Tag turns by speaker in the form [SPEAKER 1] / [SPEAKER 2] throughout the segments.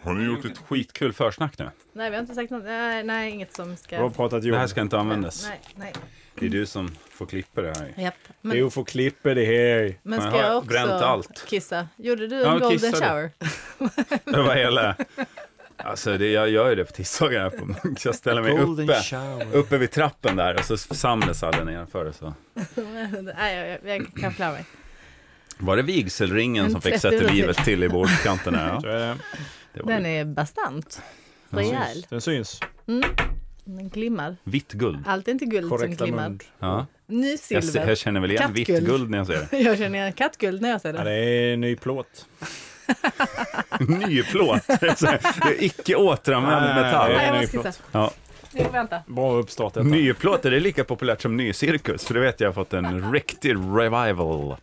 [SPEAKER 1] Har ni gjort ett skitkul försnack nu?
[SPEAKER 2] Nej, vi har inte sagt något. Nej, nej inget som
[SPEAKER 3] Jag har
[SPEAKER 2] ska...
[SPEAKER 3] pratat jobb.
[SPEAKER 1] Det här ska inte användas.
[SPEAKER 2] Nej, nej.
[SPEAKER 1] Det är du som får klippa det här.
[SPEAKER 2] Japp.
[SPEAKER 3] Det
[SPEAKER 2] Men,
[SPEAKER 3] är att få klippa det här.
[SPEAKER 2] men
[SPEAKER 1] Men
[SPEAKER 2] ska
[SPEAKER 1] har
[SPEAKER 2] jag
[SPEAKER 1] jag
[SPEAKER 2] också
[SPEAKER 1] bränt allt?
[SPEAKER 2] kissa? Gjorde du en
[SPEAKER 1] Ja,
[SPEAKER 2] golden
[SPEAKER 1] kissade.
[SPEAKER 2] shower?
[SPEAKER 1] Det var hela... Alltså, det, jag gör ju det på tisdagar här på Munk. Jag ställer mig
[SPEAKER 4] Golden
[SPEAKER 1] uppe,
[SPEAKER 4] shower.
[SPEAKER 1] uppe vid trappen där och så samlas alla nedanför. och Så.
[SPEAKER 2] nej, jag, jag, jag kan klara mig.
[SPEAKER 1] Var det vigselringen som fick
[SPEAKER 2] 30
[SPEAKER 1] sätta
[SPEAKER 2] minuter.
[SPEAKER 1] livet till i bordskanten? här?
[SPEAKER 3] Så eh,
[SPEAKER 1] Ja,
[SPEAKER 3] är det.
[SPEAKER 1] det var
[SPEAKER 2] Den
[SPEAKER 1] ju
[SPEAKER 2] är bastant. Rejäl.
[SPEAKER 3] Den syns.
[SPEAKER 2] Den glimmar.
[SPEAKER 1] vitt guld.
[SPEAKER 2] Allt är inte guld
[SPEAKER 3] Korrekta
[SPEAKER 2] som glimmar.
[SPEAKER 3] mun.
[SPEAKER 1] Ja.
[SPEAKER 2] Ny
[SPEAKER 1] Jag, se-
[SPEAKER 2] silver.
[SPEAKER 1] jag känner väl igen vitt
[SPEAKER 2] Kattguld.
[SPEAKER 1] guld när jag ser det.
[SPEAKER 2] Jag känner igen kattguld när jag ser
[SPEAKER 3] Ja,
[SPEAKER 2] det.
[SPEAKER 3] det är en ny plåt.
[SPEAKER 1] Ny plåt. Det är icke återanvänd
[SPEAKER 3] Nej,
[SPEAKER 1] metall.
[SPEAKER 3] nej,
[SPEAKER 2] Nej, jag
[SPEAKER 3] nej,
[SPEAKER 2] måste
[SPEAKER 3] förlåt.
[SPEAKER 2] kissa.
[SPEAKER 1] Ja.
[SPEAKER 2] Nej, Vänta.
[SPEAKER 3] Bra uppstart detta.
[SPEAKER 1] Nyplåt, är det lika populärt som nycirkus? För det vet jag har fått en riktig revival.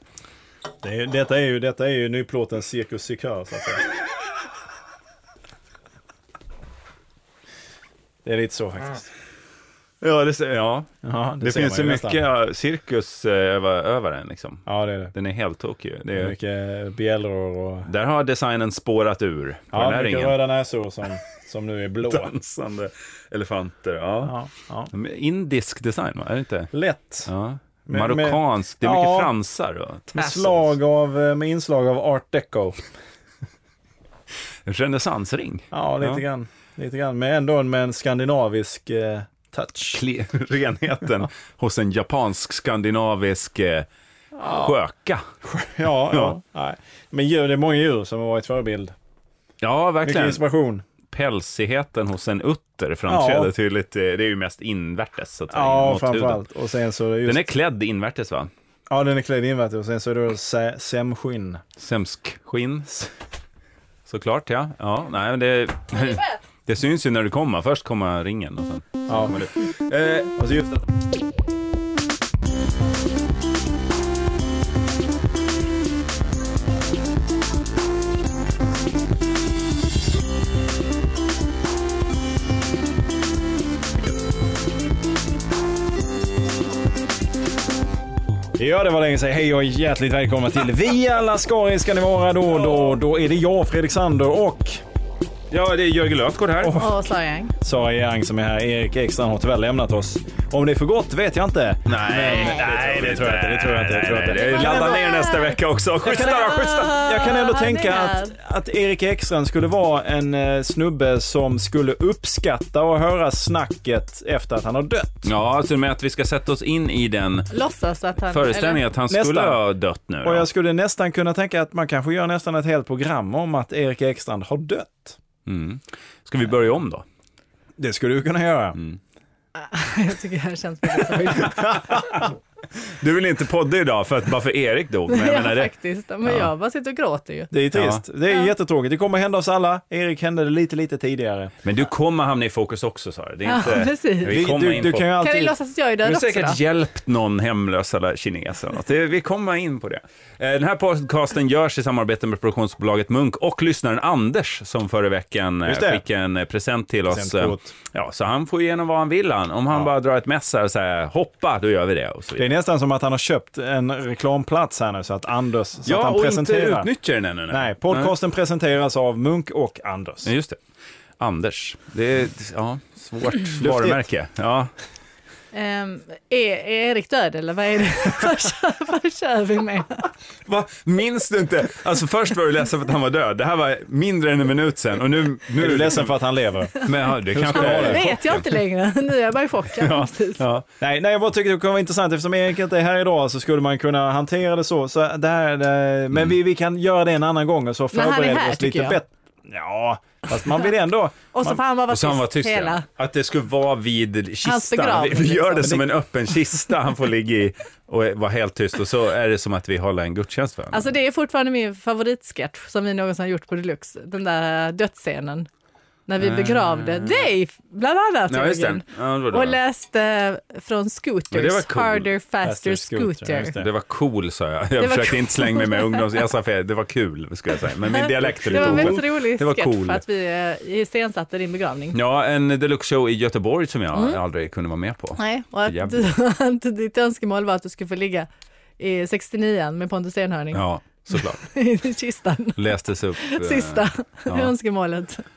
[SPEAKER 3] Det är, detta, är ju, detta är ju nyplåten Cirkus Cirkör så att säga. Det är lite så faktiskt.
[SPEAKER 1] Ja, det, ser- ja.
[SPEAKER 3] Ja,
[SPEAKER 1] det
[SPEAKER 3] ser
[SPEAKER 1] finns ju
[SPEAKER 3] man
[SPEAKER 1] mycket
[SPEAKER 3] nästan.
[SPEAKER 1] ja, cirkus eh, över, över den liksom.
[SPEAKER 3] Ja, det är det.
[SPEAKER 1] Den är helt tokig. ju. Det
[SPEAKER 3] det är
[SPEAKER 1] är,
[SPEAKER 3] mycket bjällror och
[SPEAKER 1] där har designen spårat ur på den
[SPEAKER 3] ja,
[SPEAKER 1] här
[SPEAKER 3] mycket
[SPEAKER 1] ringen.
[SPEAKER 3] röda näsor som, som nu är blå.
[SPEAKER 1] Dansande elefanter, ja.
[SPEAKER 3] Ja, ja.
[SPEAKER 1] Men Indisk design, va? Är det inte?
[SPEAKER 3] Lätt.
[SPEAKER 1] Ja.
[SPEAKER 3] Men-
[SPEAKER 1] Marockansk, det är mycket
[SPEAKER 3] ja.
[SPEAKER 1] fransar och
[SPEAKER 3] Med,
[SPEAKER 1] tassels.
[SPEAKER 3] slag av, eh, med inslag av art deco.
[SPEAKER 1] Renässansring.
[SPEAKER 3] Ja, lite
[SPEAKER 1] Ja.
[SPEAKER 3] grann. Lite grann. Men ändå med en skandinavisk eh, touch.
[SPEAKER 1] Kle- renheten hos en japansk, skandinavisk eh, sköka.
[SPEAKER 3] Ja,
[SPEAKER 1] Ja.
[SPEAKER 3] ja. Nej. Men djur, det är många djur som har varit förebild.
[SPEAKER 1] Ja,
[SPEAKER 3] Mycket
[SPEAKER 1] verkligen.
[SPEAKER 3] inspiration.
[SPEAKER 1] Pälsigheten hos en utter framträder
[SPEAKER 3] Ja.
[SPEAKER 1] tydligt. eh, Det är ju mest invärtes. Så att säga,
[SPEAKER 3] Ja,
[SPEAKER 1] mot huden.
[SPEAKER 3] framförallt. Och sen så är det just,
[SPEAKER 1] Den är klädd invärtes, va?
[SPEAKER 3] ja, den är klädd invärtes och sen så är det då sä- sämskinn.
[SPEAKER 1] Sämskskinn. Såklart, ja. ja nej, men det, det syns ju när du kommer. Först kommer ringen och sen
[SPEAKER 3] Ja.
[SPEAKER 1] kommer du. Eh,
[SPEAKER 3] Och så alltså just att, Ja, det var länge sedan. Hej och hjärtligt välkomna till Vi alla Skari ska ni vara då och då. Då är det jag, Fredrik Sander och
[SPEAKER 1] ja, det är Jörgen Lötgård här.
[SPEAKER 2] Och Sara Young.
[SPEAKER 3] Sara Jang som är här. Erik Ekstrand har tyvärr lämnat oss. Om det är för gott vet jag inte.
[SPEAKER 1] Nej, nej, det tror jag inte. Det tror jag inte. Det tror jag inte.
[SPEAKER 2] Nej,
[SPEAKER 1] Ladda
[SPEAKER 2] nej.
[SPEAKER 1] ner nästa vecka också. Schyssta då, schyssta.
[SPEAKER 3] Jag kan ändå
[SPEAKER 2] Ah,
[SPEAKER 3] tänka
[SPEAKER 2] han är
[SPEAKER 3] att, att Erik Ekstrand skulle vara en eh, snubbe som skulle uppskatta och höra snacket efter att han har dött.
[SPEAKER 1] Ja, till och med att vi ska sätta oss in i den
[SPEAKER 2] Låtsas att han...
[SPEAKER 1] föreställningen
[SPEAKER 2] eller-
[SPEAKER 1] att han
[SPEAKER 3] Nästan.
[SPEAKER 1] skulle ha dött nu.
[SPEAKER 3] Och
[SPEAKER 1] då.
[SPEAKER 3] jag skulle nästan kunna tänka att man kanske gör nästan ett helt program om att Erik Ekstrand har dött.
[SPEAKER 1] Mm. Ska vi börja om då?
[SPEAKER 3] Det skulle du kunna göra.
[SPEAKER 2] jag tycker det här känns väldigt sorgligt.
[SPEAKER 1] Du vill inte podda idag för att bara för Erik dog. Men jag menar,
[SPEAKER 2] ja,
[SPEAKER 1] det,
[SPEAKER 2] faktiskt. Men jag bara sitter och gråter ju.
[SPEAKER 3] Det är trist. Det är jättetråkigt. Det kommer hända oss alla. Erik hände det lite, lite tidigare.
[SPEAKER 1] men du kommer hamna i fokus också Sara. Det är
[SPEAKER 2] Ja,
[SPEAKER 1] inte,
[SPEAKER 2] precis.
[SPEAKER 1] Vi kommer
[SPEAKER 3] du,
[SPEAKER 1] in
[SPEAKER 3] du
[SPEAKER 1] på...
[SPEAKER 3] kan ju
[SPEAKER 2] Kan vi
[SPEAKER 3] alltid...
[SPEAKER 2] låtsas att jag är
[SPEAKER 1] Du
[SPEAKER 2] död
[SPEAKER 1] har
[SPEAKER 2] också
[SPEAKER 1] säkert
[SPEAKER 2] då?
[SPEAKER 1] hjälpt någon hemlös eller kines eller något. Det, vi kommer in på det. Eh, Den här podcasten görs i samarbete med produktionsbolaget Munk och lyssnaren Anders som förra veckan eh,
[SPEAKER 3] Just det.
[SPEAKER 1] skickade en eh, present till oss. Eh,
[SPEAKER 3] Presentkort.
[SPEAKER 1] Ja, så han får igenom vad han vill han. Om han bara drar ett mess här och säger hoppa, då gör vi det. Och så
[SPEAKER 3] Det är
[SPEAKER 1] vidare.
[SPEAKER 3] nästan som att han har köpt en reklamplats här nu så att Anders... Så att
[SPEAKER 1] Ja,
[SPEAKER 3] han
[SPEAKER 1] och inte
[SPEAKER 3] presenterar.
[SPEAKER 1] utnyttjar den ännu.
[SPEAKER 3] Nej, podcasten presenteras av Munk och Anders.
[SPEAKER 1] Ja, just det. Anders. Det är ja, svårt varumärke. Ja.
[SPEAKER 2] Ehm, är, är Erik död eller vad är det? vad, kör, vad kör vi med?
[SPEAKER 1] Va? Minns du inte? Alltså först var du ledsen för att han var död. Det här var mindre än en minut sen. Och nu, nu
[SPEAKER 3] Är du ledsen för att han lever?
[SPEAKER 1] Men ja, det kanske
[SPEAKER 3] ska
[SPEAKER 1] är
[SPEAKER 3] det
[SPEAKER 2] Det
[SPEAKER 1] det.
[SPEAKER 2] vet jag inte längre. Nu är jag bara i chock. Ja, precis.
[SPEAKER 1] Ja.
[SPEAKER 3] nej, nej, jag bara tycker det kunde vara intressant. Eftersom Erik inte är här idag så skulle man kunna hantera det så. så det här, det, men vi, vi kan göra det en annan gång och så
[SPEAKER 2] Men han är
[SPEAKER 3] förbereder vi
[SPEAKER 2] här,
[SPEAKER 3] oss
[SPEAKER 2] tycker
[SPEAKER 3] lite
[SPEAKER 2] jag.
[SPEAKER 3] bättre. Ja, fast man vill ändå...
[SPEAKER 2] Och så får han bara vara
[SPEAKER 1] Och så han var
[SPEAKER 2] tyst,
[SPEAKER 1] tyst. Ja.
[SPEAKER 2] hela.
[SPEAKER 1] Att det skulle vara vid
[SPEAKER 2] Hans
[SPEAKER 1] kistan. Vi,
[SPEAKER 2] begravning,
[SPEAKER 1] vi gör det
[SPEAKER 2] liksom.
[SPEAKER 1] som en öppen kista. Han får ligga i och vara helt tyst. Och så är det som att vi håller en gudstjänst för honom.
[SPEAKER 2] Alltså det är fortfarande min favoritsketch som vi någonsin har gjort på Deluxe. Den där dödsscenen. När vi begravde dig, bland annat.
[SPEAKER 1] Ah. ja, just
[SPEAKER 2] Jörgen.
[SPEAKER 1] det. Ja, det, var
[SPEAKER 2] Och
[SPEAKER 1] det.
[SPEAKER 2] läste från
[SPEAKER 1] Ja, det var
[SPEAKER 2] Scooters,
[SPEAKER 1] cool.
[SPEAKER 2] Harder Faster
[SPEAKER 3] Faster Scooter,
[SPEAKER 2] Scooter.
[SPEAKER 3] just
[SPEAKER 1] det var cool, sa jag.
[SPEAKER 2] var
[SPEAKER 1] Jag försökte
[SPEAKER 2] cool.
[SPEAKER 1] inte slänga mig med ungdoms... Jag sa fel. Det var kul, skulle jag säga. Men min dialekt är
[SPEAKER 2] Det var
[SPEAKER 1] lite
[SPEAKER 2] en
[SPEAKER 1] ovan.
[SPEAKER 2] väldigt rolig
[SPEAKER 1] Det var
[SPEAKER 2] sketch
[SPEAKER 1] cool.
[SPEAKER 2] för att vi eh, iscensatte din begravning.
[SPEAKER 1] Ja, en deluxe show i Göteborg som jag
[SPEAKER 3] Mm.
[SPEAKER 1] aldrig kunde vara med på.
[SPEAKER 2] Nej, och att
[SPEAKER 1] Jävligt.
[SPEAKER 2] du, att ditt önskemål var att du skulle få ligga i 69an med Pontus Enhörning.
[SPEAKER 1] Ja, såklart.
[SPEAKER 2] i kistan.
[SPEAKER 1] Lästes upp. eh,
[SPEAKER 2] Sista
[SPEAKER 1] ja.
[SPEAKER 2] önskemålet.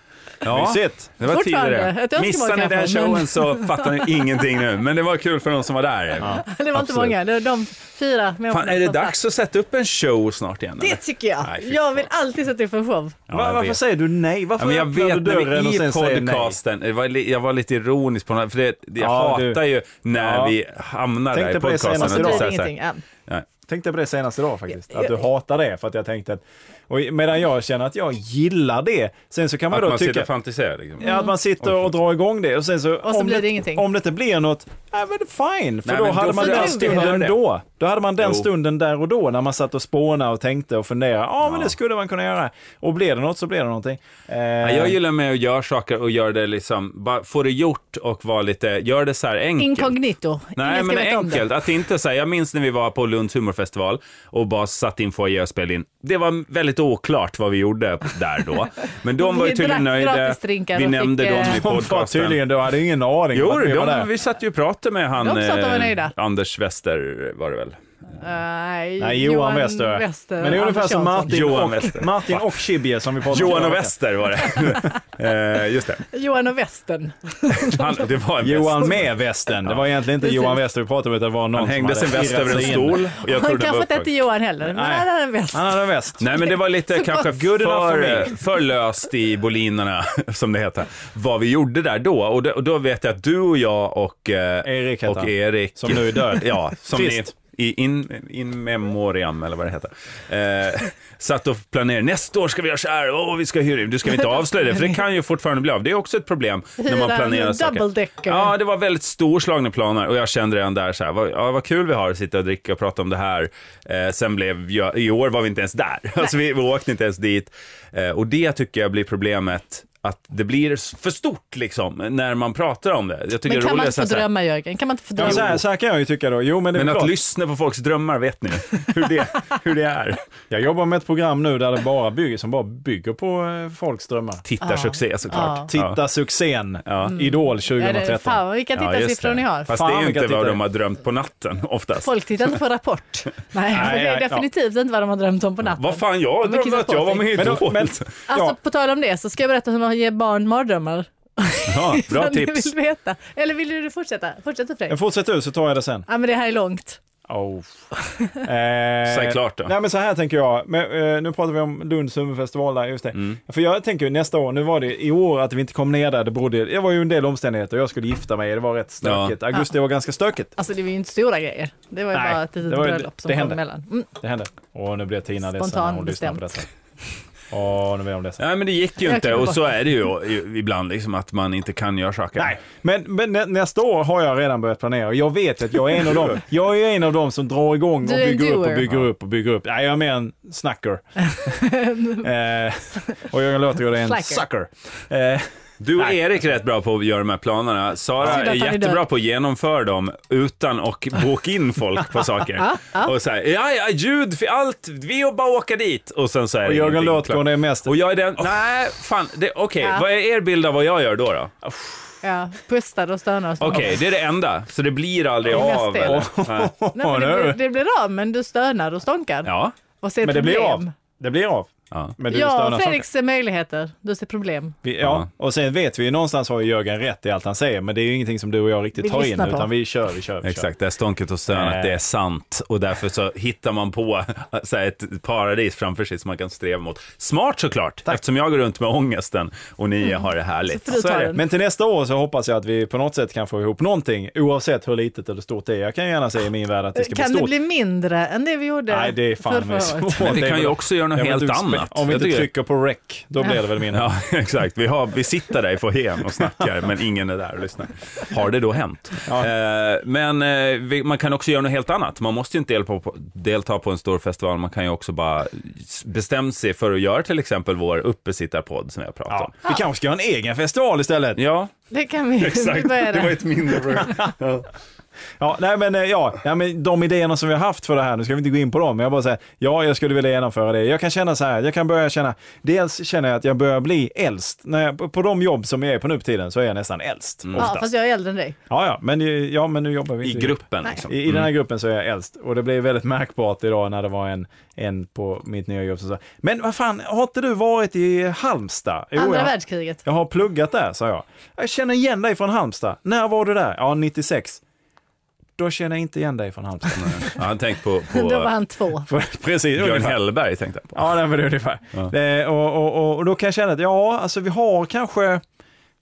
[SPEAKER 1] Ja,
[SPEAKER 3] Mysigt.
[SPEAKER 1] det var tid i
[SPEAKER 2] Fortfarande.
[SPEAKER 1] det.
[SPEAKER 2] Ett önskemål
[SPEAKER 1] Missar ni den här
[SPEAKER 2] kanske,
[SPEAKER 1] showen
[SPEAKER 2] men-
[SPEAKER 1] så fattar ni ingenting nu. Men det var kul för de som var där.
[SPEAKER 2] Det var inte
[SPEAKER 1] Absolut.
[SPEAKER 2] många, det var de fyra människorna
[SPEAKER 1] Fan, är det
[SPEAKER 2] som satt.
[SPEAKER 1] dags att sätta upp en show snart igen?
[SPEAKER 2] Det
[SPEAKER 1] eller?
[SPEAKER 2] tycker jag.
[SPEAKER 1] Nej, fy
[SPEAKER 2] jag
[SPEAKER 1] fan.
[SPEAKER 2] vill alltid sätta upp en show.
[SPEAKER 1] Ja,
[SPEAKER 3] Va-
[SPEAKER 1] jag
[SPEAKER 3] varför
[SPEAKER 1] vet.
[SPEAKER 3] säger du nej? Varför
[SPEAKER 1] Ja, men jag
[SPEAKER 3] öppnar
[SPEAKER 1] vet
[SPEAKER 3] du dörren och
[SPEAKER 1] när vi i
[SPEAKER 3] sen säger nej?
[SPEAKER 1] podcasten, det var li- jag var lite ironisk på den här, för det, det, jag
[SPEAKER 3] Ja, du-
[SPEAKER 1] hatar ju när
[SPEAKER 3] Ja.
[SPEAKER 1] vi hamnar
[SPEAKER 3] Tänkte
[SPEAKER 1] där i
[SPEAKER 3] på det
[SPEAKER 1] podcasten.
[SPEAKER 3] senast
[SPEAKER 1] att
[SPEAKER 2] Så
[SPEAKER 1] det
[SPEAKER 3] idag.
[SPEAKER 1] är så
[SPEAKER 2] blir det
[SPEAKER 1] här-
[SPEAKER 2] ingenting. Ja.
[SPEAKER 1] Nej.
[SPEAKER 3] tänkte på det senast idag faktiskt, att du hatar det för att jag tänkte att, och medan jag känner att jag gillar det, sen så kan man
[SPEAKER 1] Att
[SPEAKER 3] då
[SPEAKER 1] man sitter
[SPEAKER 3] tycka
[SPEAKER 1] och fantiserar. Liksom.
[SPEAKER 3] Ja, att man sitter och drar igång det och sen så,
[SPEAKER 2] så
[SPEAKER 3] om,
[SPEAKER 2] blir det
[SPEAKER 3] det,
[SPEAKER 2] ingenting.
[SPEAKER 3] om det inte blir något, nej men fine, för
[SPEAKER 1] Nej,
[SPEAKER 3] då
[SPEAKER 1] men då
[SPEAKER 3] hade man
[SPEAKER 1] får
[SPEAKER 3] den
[SPEAKER 2] du
[SPEAKER 1] höra
[SPEAKER 3] stunden
[SPEAKER 1] det.
[SPEAKER 3] då. Då hade man den
[SPEAKER 1] Jo.
[SPEAKER 3] stunden där och då när man satt och spånade och tänkte och funderade, ja men det skulle man kunna göra. Och blir det något så blir det någonting. Eh,
[SPEAKER 1] Ja, Jag gillar med att göra saker och göra det liksom, bara få det gjort och vara lite, gör det så här enkelt.
[SPEAKER 2] Inkognito.
[SPEAKER 1] Nej,
[SPEAKER 2] Ingen
[SPEAKER 1] men
[SPEAKER 2] ska veta om det.
[SPEAKER 1] enkelt. Att inte säga. Jag minns när vi var på Lunds humorfestival och bara satt in foajé och spelade in. Det var väldigt oklart vad vi gjorde där då. Men de
[SPEAKER 2] Vi
[SPEAKER 1] var ju tydligen
[SPEAKER 2] drack
[SPEAKER 1] nöjda.
[SPEAKER 2] gratisdrinkar
[SPEAKER 1] Vi
[SPEAKER 2] och
[SPEAKER 1] nämnde
[SPEAKER 2] fick,
[SPEAKER 1] dem
[SPEAKER 2] eh,
[SPEAKER 1] i
[SPEAKER 3] de var
[SPEAKER 1] podcasten.
[SPEAKER 3] tydligen, du hade ingen aning om
[SPEAKER 1] Jo,
[SPEAKER 3] att vi var
[SPEAKER 1] de,
[SPEAKER 3] där.
[SPEAKER 1] vi satt ju och pratade med han,
[SPEAKER 2] De sa att de var
[SPEAKER 1] eh,
[SPEAKER 2] nöjda.
[SPEAKER 1] Anders Wester var det väl?
[SPEAKER 2] Eh, Nej,
[SPEAKER 3] Nej, Johan Wester. Men det är ungefär
[SPEAKER 2] Anders
[SPEAKER 3] som
[SPEAKER 2] Jansson.
[SPEAKER 3] Martin
[SPEAKER 1] Johan
[SPEAKER 3] och,
[SPEAKER 1] Wester.
[SPEAKER 3] Martin och Chibye som vi pratade om
[SPEAKER 1] Johan
[SPEAKER 3] förra
[SPEAKER 1] och
[SPEAKER 3] veckan.
[SPEAKER 1] Wester var det. Eh, Just det.
[SPEAKER 2] Johan och Western.
[SPEAKER 1] Han, det var en väst.
[SPEAKER 3] Johan med västen. Det var egentligen inte
[SPEAKER 2] Precis.
[SPEAKER 3] Johan Wester vi pratade om, utan det var någon
[SPEAKER 1] Han hängde
[SPEAKER 3] som
[SPEAKER 1] sin
[SPEAKER 3] hade
[SPEAKER 1] väst
[SPEAKER 3] irrat
[SPEAKER 1] över en
[SPEAKER 3] sig in.
[SPEAKER 1] stol. och Jag trodde
[SPEAKER 2] Han
[SPEAKER 1] det var
[SPEAKER 2] kanske
[SPEAKER 1] uppfört.
[SPEAKER 2] inte Johan heller, men
[SPEAKER 3] Nej.
[SPEAKER 2] han hade en väst.
[SPEAKER 3] Han hade en väst.
[SPEAKER 1] Nej, men det var lite kanske
[SPEAKER 3] Good enough for
[SPEAKER 1] för, för löst i bolinerna, som det heter, vad vi gjorde där då. Och, då. och då vet jag att du och jag och eh,
[SPEAKER 3] Erik heter
[SPEAKER 1] och
[SPEAKER 3] han.
[SPEAKER 1] Erik
[SPEAKER 3] Som nu är död.
[SPEAKER 1] Ja, som ni,
[SPEAKER 3] Trist.
[SPEAKER 1] i in, in memoriam, eller vad det heter, eh, satt och planerade. Nästa år ska vi göra så här, åh, vi ska hyra in. Du ska vi inte avslöja det, för det kan ju fortfarande bli av. Det är också ett problem när man
[SPEAKER 2] Hyra en
[SPEAKER 1] planerar
[SPEAKER 2] double-decker.
[SPEAKER 1] Ja, det var väldigt storslagna planer och jag kände redan där så här, vad, ja, vad kul vi har att sitta och dricka och prata om det här. Eh, sen blev jag, i år var vi inte ens där, alltså vi, vi åkte inte ens dit. Eh, och det tycker jag blir problemet, att det blir för stort liksom, när man pratar om det. Jag tycker
[SPEAKER 2] Men
[SPEAKER 1] det är
[SPEAKER 2] kan man
[SPEAKER 1] roligare
[SPEAKER 2] inte få
[SPEAKER 1] så här-
[SPEAKER 2] drömma, Jörgen? Kan man inte få
[SPEAKER 3] Ja, men så,
[SPEAKER 2] drömma?
[SPEAKER 3] här, så här kan jag ju tycka då. Jo, men det är
[SPEAKER 1] Men
[SPEAKER 3] väl
[SPEAKER 1] att
[SPEAKER 3] klart.
[SPEAKER 1] lyssna på folks drömmar vet ni hur det, hur det är.
[SPEAKER 3] Jag jobbar med ett program nu där det bara bygger, som bara bygger på eh, folks drömmar.
[SPEAKER 1] Tittarsuccé såklart.
[SPEAKER 3] Titta succén, Idol
[SPEAKER 2] Ja, det-
[SPEAKER 3] 2013.
[SPEAKER 2] Fan, vilka
[SPEAKER 1] Ja, just
[SPEAKER 2] tittarsiffror
[SPEAKER 1] det.
[SPEAKER 2] ni har.
[SPEAKER 1] Fast
[SPEAKER 3] Fan,
[SPEAKER 1] det är ju
[SPEAKER 3] vilka
[SPEAKER 1] inte vad
[SPEAKER 3] tittare.
[SPEAKER 1] de har drömt på natten oftast.
[SPEAKER 2] Folk tittar inte på Rapport. Nej, för det är
[SPEAKER 3] nej, ja.
[SPEAKER 2] definitivt inte vad de har drömt om på natten.
[SPEAKER 1] Vad fan, jag
[SPEAKER 2] De har
[SPEAKER 1] drömde
[SPEAKER 2] kissat
[SPEAKER 1] att
[SPEAKER 2] på
[SPEAKER 1] jag var
[SPEAKER 2] sig.
[SPEAKER 1] med i
[SPEAKER 3] Men då-
[SPEAKER 1] Idol.
[SPEAKER 3] men-
[SPEAKER 2] Alltså
[SPEAKER 3] Ja.
[SPEAKER 2] på tal om det så ska jag berätta hur man ger barn mardrömmar.
[SPEAKER 1] Ja, bra
[SPEAKER 2] Om ni
[SPEAKER 1] tips.
[SPEAKER 2] Vill veta. Eller vill du fortsätta? Fortsätt du Fredrik.
[SPEAKER 3] Men Fortsätt du så tar jag det sen.
[SPEAKER 2] Ja men det här är långt.
[SPEAKER 3] Oh. Eh,
[SPEAKER 1] Säg klart då.
[SPEAKER 3] Nej men så här tänker jag, men, eh, nu pratar vi om Lunds humorfestival där, just det.
[SPEAKER 1] Mm.
[SPEAKER 3] För jag tänker ju nästa år, nu var det i år att vi inte kom ner där, det berodde, det var ju en del omständigheter, jag skulle gifta mig, det var rätt stökigt. Augusti var ganska stökigt,
[SPEAKER 2] Alltså det var ju inte stora grejer. Det var ju
[SPEAKER 3] Nej,
[SPEAKER 2] bara ett litet
[SPEAKER 3] det var ju-
[SPEAKER 2] bröllop som
[SPEAKER 3] det
[SPEAKER 2] kom
[SPEAKER 3] hände.
[SPEAKER 2] emellan. Mm.
[SPEAKER 3] det hände. Och nu blir Tina ledsen när
[SPEAKER 2] Spontan
[SPEAKER 3] hon lyssnar på detta.
[SPEAKER 2] bestämt.
[SPEAKER 3] Åh, nu blir hon ledsen.
[SPEAKER 1] Nej, men det gick ju
[SPEAKER 2] Jag
[SPEAKER 1] inte
[SPEAKER 2] klipper
[SPEAKER 1] och
[SPEAKER 2] bort
[SPEAKER 1] så är det ju ju ibland liksom att man inte kan göra saker.
[SPEAKER 3] Nej, men, men nä- nästa år har jag redan börjat planera och jag vet att jag är en av dem. Jag är en av dem som drar igång och
[SPEAKER 2] Du är en
[SPEAKER 3] bygger upp och
[SPEAKER 2] doer.
[SPEAKER 3] bygger upp och bygger upp. Nej, jag är mer en snacker. eh, och Jörgen Låtergård är en
[SPEAKER 2] Slacker.
[SPEAKER 3] sucker. Eh,
[SPEAKER 1] Du och
[SPEAKER 3] Nej.
[SPEAKER 1] Erik är rätt bra på att göra de här planerna. Sara
[SPEAKER 2] Synd att
[SPEAKER 1] är
[SPEAKER 2] han är
[SPEAKER 1] jättebra
[SPEAKER 2] död.
[SPEAKER 1] på att genomföra dem utan att boka in folk på saker. och så här, ja, ja, ljud för allt, vi och bara åka dit. Och sen så är
[SPEAKER 3] och
[SPEAKER 1] det
[SPEAKER 3] Jörgen
[SPEAKER 1] ingenting
[SPEAKER 3] Låtergård
[SPEAKER 1] klart.
[SPEAKER 3] är Oh. mest...
[SPEAKER 1] Och jag är den, nej, fan, det- okej,
[SPEAKER 2] Ja.
[SPEAKER 1] vad är er bild av vad jag gör då? då?
[SPEAKER 2] Ja, pustar och stönar och så.
[SPEAKER 1] Okej, det är det enda, så det blir aldrig
[SPEAKER 2] Det är mest
[SPEAKER 1] av?
[SPEAKER 2] det.
[SPEAKER 1] Eller? Nej.
[SPEAKER 2] Nej, men det, blir, det blir av men du stönar och stånkar.
[SPEAKER 1] Ja.
[SPEAKER 2] Och ser
[SPEAKER 3] men det blir
[SPEAKER 2] problem.
[SPEAKER 3] av. Det blir av.
[SPEAKER 1] ja.
[SPEAKER 3] Men du
[SPEAKER 2] Ja,
[SPEAKER 3] stönar
[SPEAKER 2] Fredrik
[SPEAKER 3] saker.
[SPEAKER 2] ser möjligheter. Du ser problem.
[SPEAKER 3] Vi, ja, och sen vet vi ju någonstans har ju Jörgen rätt i allt han säger, men det är ju ingenting som du och jag riktigt
[SPEAKER 2] Vi
[SPEAKER 3] tar in,
[SPEAKER 2] lyssnar på.
[SPEAKER 3] utan vi kör, vi kör, vi
[SPEAKER 1] Exakt, det är stånket och
[SPEAKER 3] Eh.
[SPEAKER 1] stönet, det är sant. Och därför så hittar man på så här, ett paradis framför sig som man kan sträva mot. Smart såklart, eftersom jag går runt med ångesten och ni har det härligt.
[SPEAKER 2] Så fru tar
[SPEAKER 1] är
[SPEAKER 2] den.
[SPEAKER 3] Men till nästa år så hoppas jag att vi på något sätt kan få ihop någonting, oavsett hur litet eller stort det är. Jag kan gärna säga i min värld att det ska
[SPEAKER 2] Kan
[SPEAKER 3] bli
[SPEAKER 2] det
[SPEAKER 3] stort.
[SPEAKER 2] bli mindre än det vi gjorde
[SPEAKER 3] Nej, det är
[SPEAKER 2] för
[SPEAKER 3] fan
[SPEAKER 2] förra
[SPEAKER 3] med
[SPEAKER 2] året?
[SPEAKER 3] svårt.
[SPEAKER 1] Men vi
[SPEAKER 3] Det är
[SPEAKER 1] kan ju
[SPEAKER 3] väl-
[SPEAKER 1] också göra något
[SPEAKER 3] Ja, men
[SPEAKER 1] helt
[SPEAKER 3] du, spe-
[SPEAKER 1] annat.
[SPEAKER 3] Om vi
[SPEAKER 1] Jag
[SPEAKER 3] inte
[SPEAKER 1] tycker-
[SPEAKER 3] trycker på rec, då blir det väl mindre.
[SPEAKER 1] Ja, exakt. Vi, har, vi sitter där i foajén och snackar, men ingen är där och lyssnar. Har det då hänt? Eh, men eh, vi, man kan också göra något helt annat. Man måste ju inte delta på, delta på en stor festival. Man kan ju också bara s- bestämma sig för att göra till exempel vår uppesittarpodd som vi har pratat om.
[SPEAKER 3] Ja. Vi kanske ska ha en egen festival istället.
[SPEAKER 1] Ja,
[SPEAKER 2] Det kan vi
[SPEAKER 1] Exakt,
[SPEAKER 2] börja
[SPEAKER 1] det var
[SPEAKER 2] där.
[SPEAKER 1] ett mindre problem. Ja.
[SPEAKER 3] Ja, nej men, eh, ja, ja, men de idéerna som vi har haft för det här, nu ska vi inte gå in på dem, men jag bara säger, ja, jag skulle vilja genomföra det. Jag kan känna så här, jag kan börja känna, dels känner jag att jag börjar bli äldst. När jag, på- på de jobb som jag är på nu för tiden så är jag nästan äldst,
[SPEAKER 2] Ja,
[SPEAKER 3] oftast.
[SPEAKER 2] fast jag är äldre än dig.
[SPEAKER 3] Ja, ja, men, eh, ja, men nu jobbar vi
[SPEAKER 1] Mm. I
[SPEAKER 3] inte
[SPEAKER 1] gruppen
[SPEAKER 2] Nej.
[SPEAKER 1] liksom.
[SPEAKER 3] I, I den här gruppen så är jag äldst och det blev väldigt märkbart idag när det var en, en på mitt nya jobb som sa, men vad fan, har inte du varit i Halmstad? Jo,
[SPEAKER 2] Andra
[SPEAKER 3] jag,
[SPEAKER 2] världskriget.
[SPEAKER 3] jag har pluggat där, sa jag. Jag känner igen dig från Halmstad. När var du där? Ja, 96. Då känner jag inte igen dig från Halmstad.
[SPEAKER 1] Ja, han tänkte på,
[SPEAKER 2] Då var
[SPEAKER 1] på
[SPEAKER 2] han
[SPEAKER 3] eh,
[SPEAKER 2] två.
[SPEAKER 3] Precis,
[SPEAKER 1] Björn
[SPEAKER 3] ungefär.
[SPEAKER 1] Hellberg. Tänkte han på.
[SPEAKER 3] Ja, nej, men det är ungefär. Eh, och, och, och, och då kan jag känna att ja, alltså vi har kanske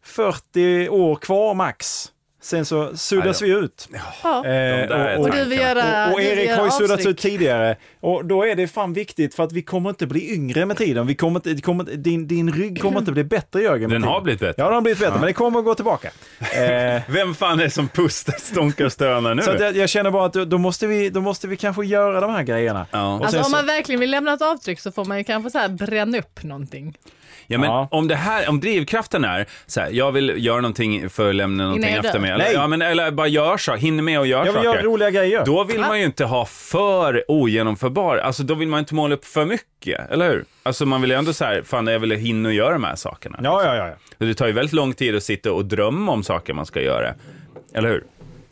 [SPEAKER 3] 40 år kvar max. Sen så suddas
[SPEAKER 1] Aj
[SPEAKER 3] vi ut.
[SPEAKER 2] Ja.
[SPEAKER 3] Eh,
[SPEAKER 1] där
[SPEAKER 2] Och du vill göra
[SPEAKER 3] och, och
[SPEAKER 2] du vill
[SPEAKER 3] Erik
[SPEAKER 2] göra
[SPEAKER 3] har ju suddats
[SPEAKER 2] avtryck.
[SPEAKER 3] ut tidigare. Och då är det fan viktigt för att vi kommer inte bli yngre med tiden. Vi kommer inte, det kommer, inte- din, din rygg kommer inte bli bättre Jörgen. med
[SPEAKER 1] Den har
[SPEAKER 3] tiden.
[SPEAKER 1] blivit bättre.
[SPEAKER 3] Ja, den har blivit bättre, men det kommer att gå tillbaka. Eh,
[SPEAKER 1] Vem fan är det som pustar, stånkar och stönar nu?
[SPEAKER 3] så att jag, jag känner bara att då, då, måste vi, då måste vi kanske göra de här grejerna.
[SPEAKER 1] Ja.
[SPEAKER 3] Och
[SPEAKER 2] Alltså
[SPEAKER 3] sen
[SPEAKER 2] om
[SPEAKER 3] så-
[SPEAKER 2] man verkligen vill lämna ett avtryck så får man ju kanske så här bränna upp någonting.
[SPEAKER 1] Ja, men
[SPEAKER 3] Ja.
[SPEAKER 1] Om, det här, om drivkraften är så här, jag vill göra någonting för att lämna någonting
[SPEAKER 2] jag
[SPEAKER 1] efter
[SPEAKER 2] dör.
[SPEAKER 1] mig. Eller,
[SPEAKER 3] Nej.
[SPEAKER 1] ja, men, eller bara gör så, hinner med och gör
[SPEAKER 3] Jag vill
[SPEAKER 1] saker.
[SPEAKER 3] göra roliga grejer.
[SPEAKER 1] Då vill man ju inte ha för ogenomförbar, alltså då vill man inte måla upp för mycket, eller hur? Alltså man vill ju ändå så här, fan jag vill hinna göra de här sakerna.
[SPEAKER 3] Ja, ja, ja. ja.
[SPEAKER 1] Det tar ju väldigt lång tid att sitta och drömma om saker man ska göra, eller hur?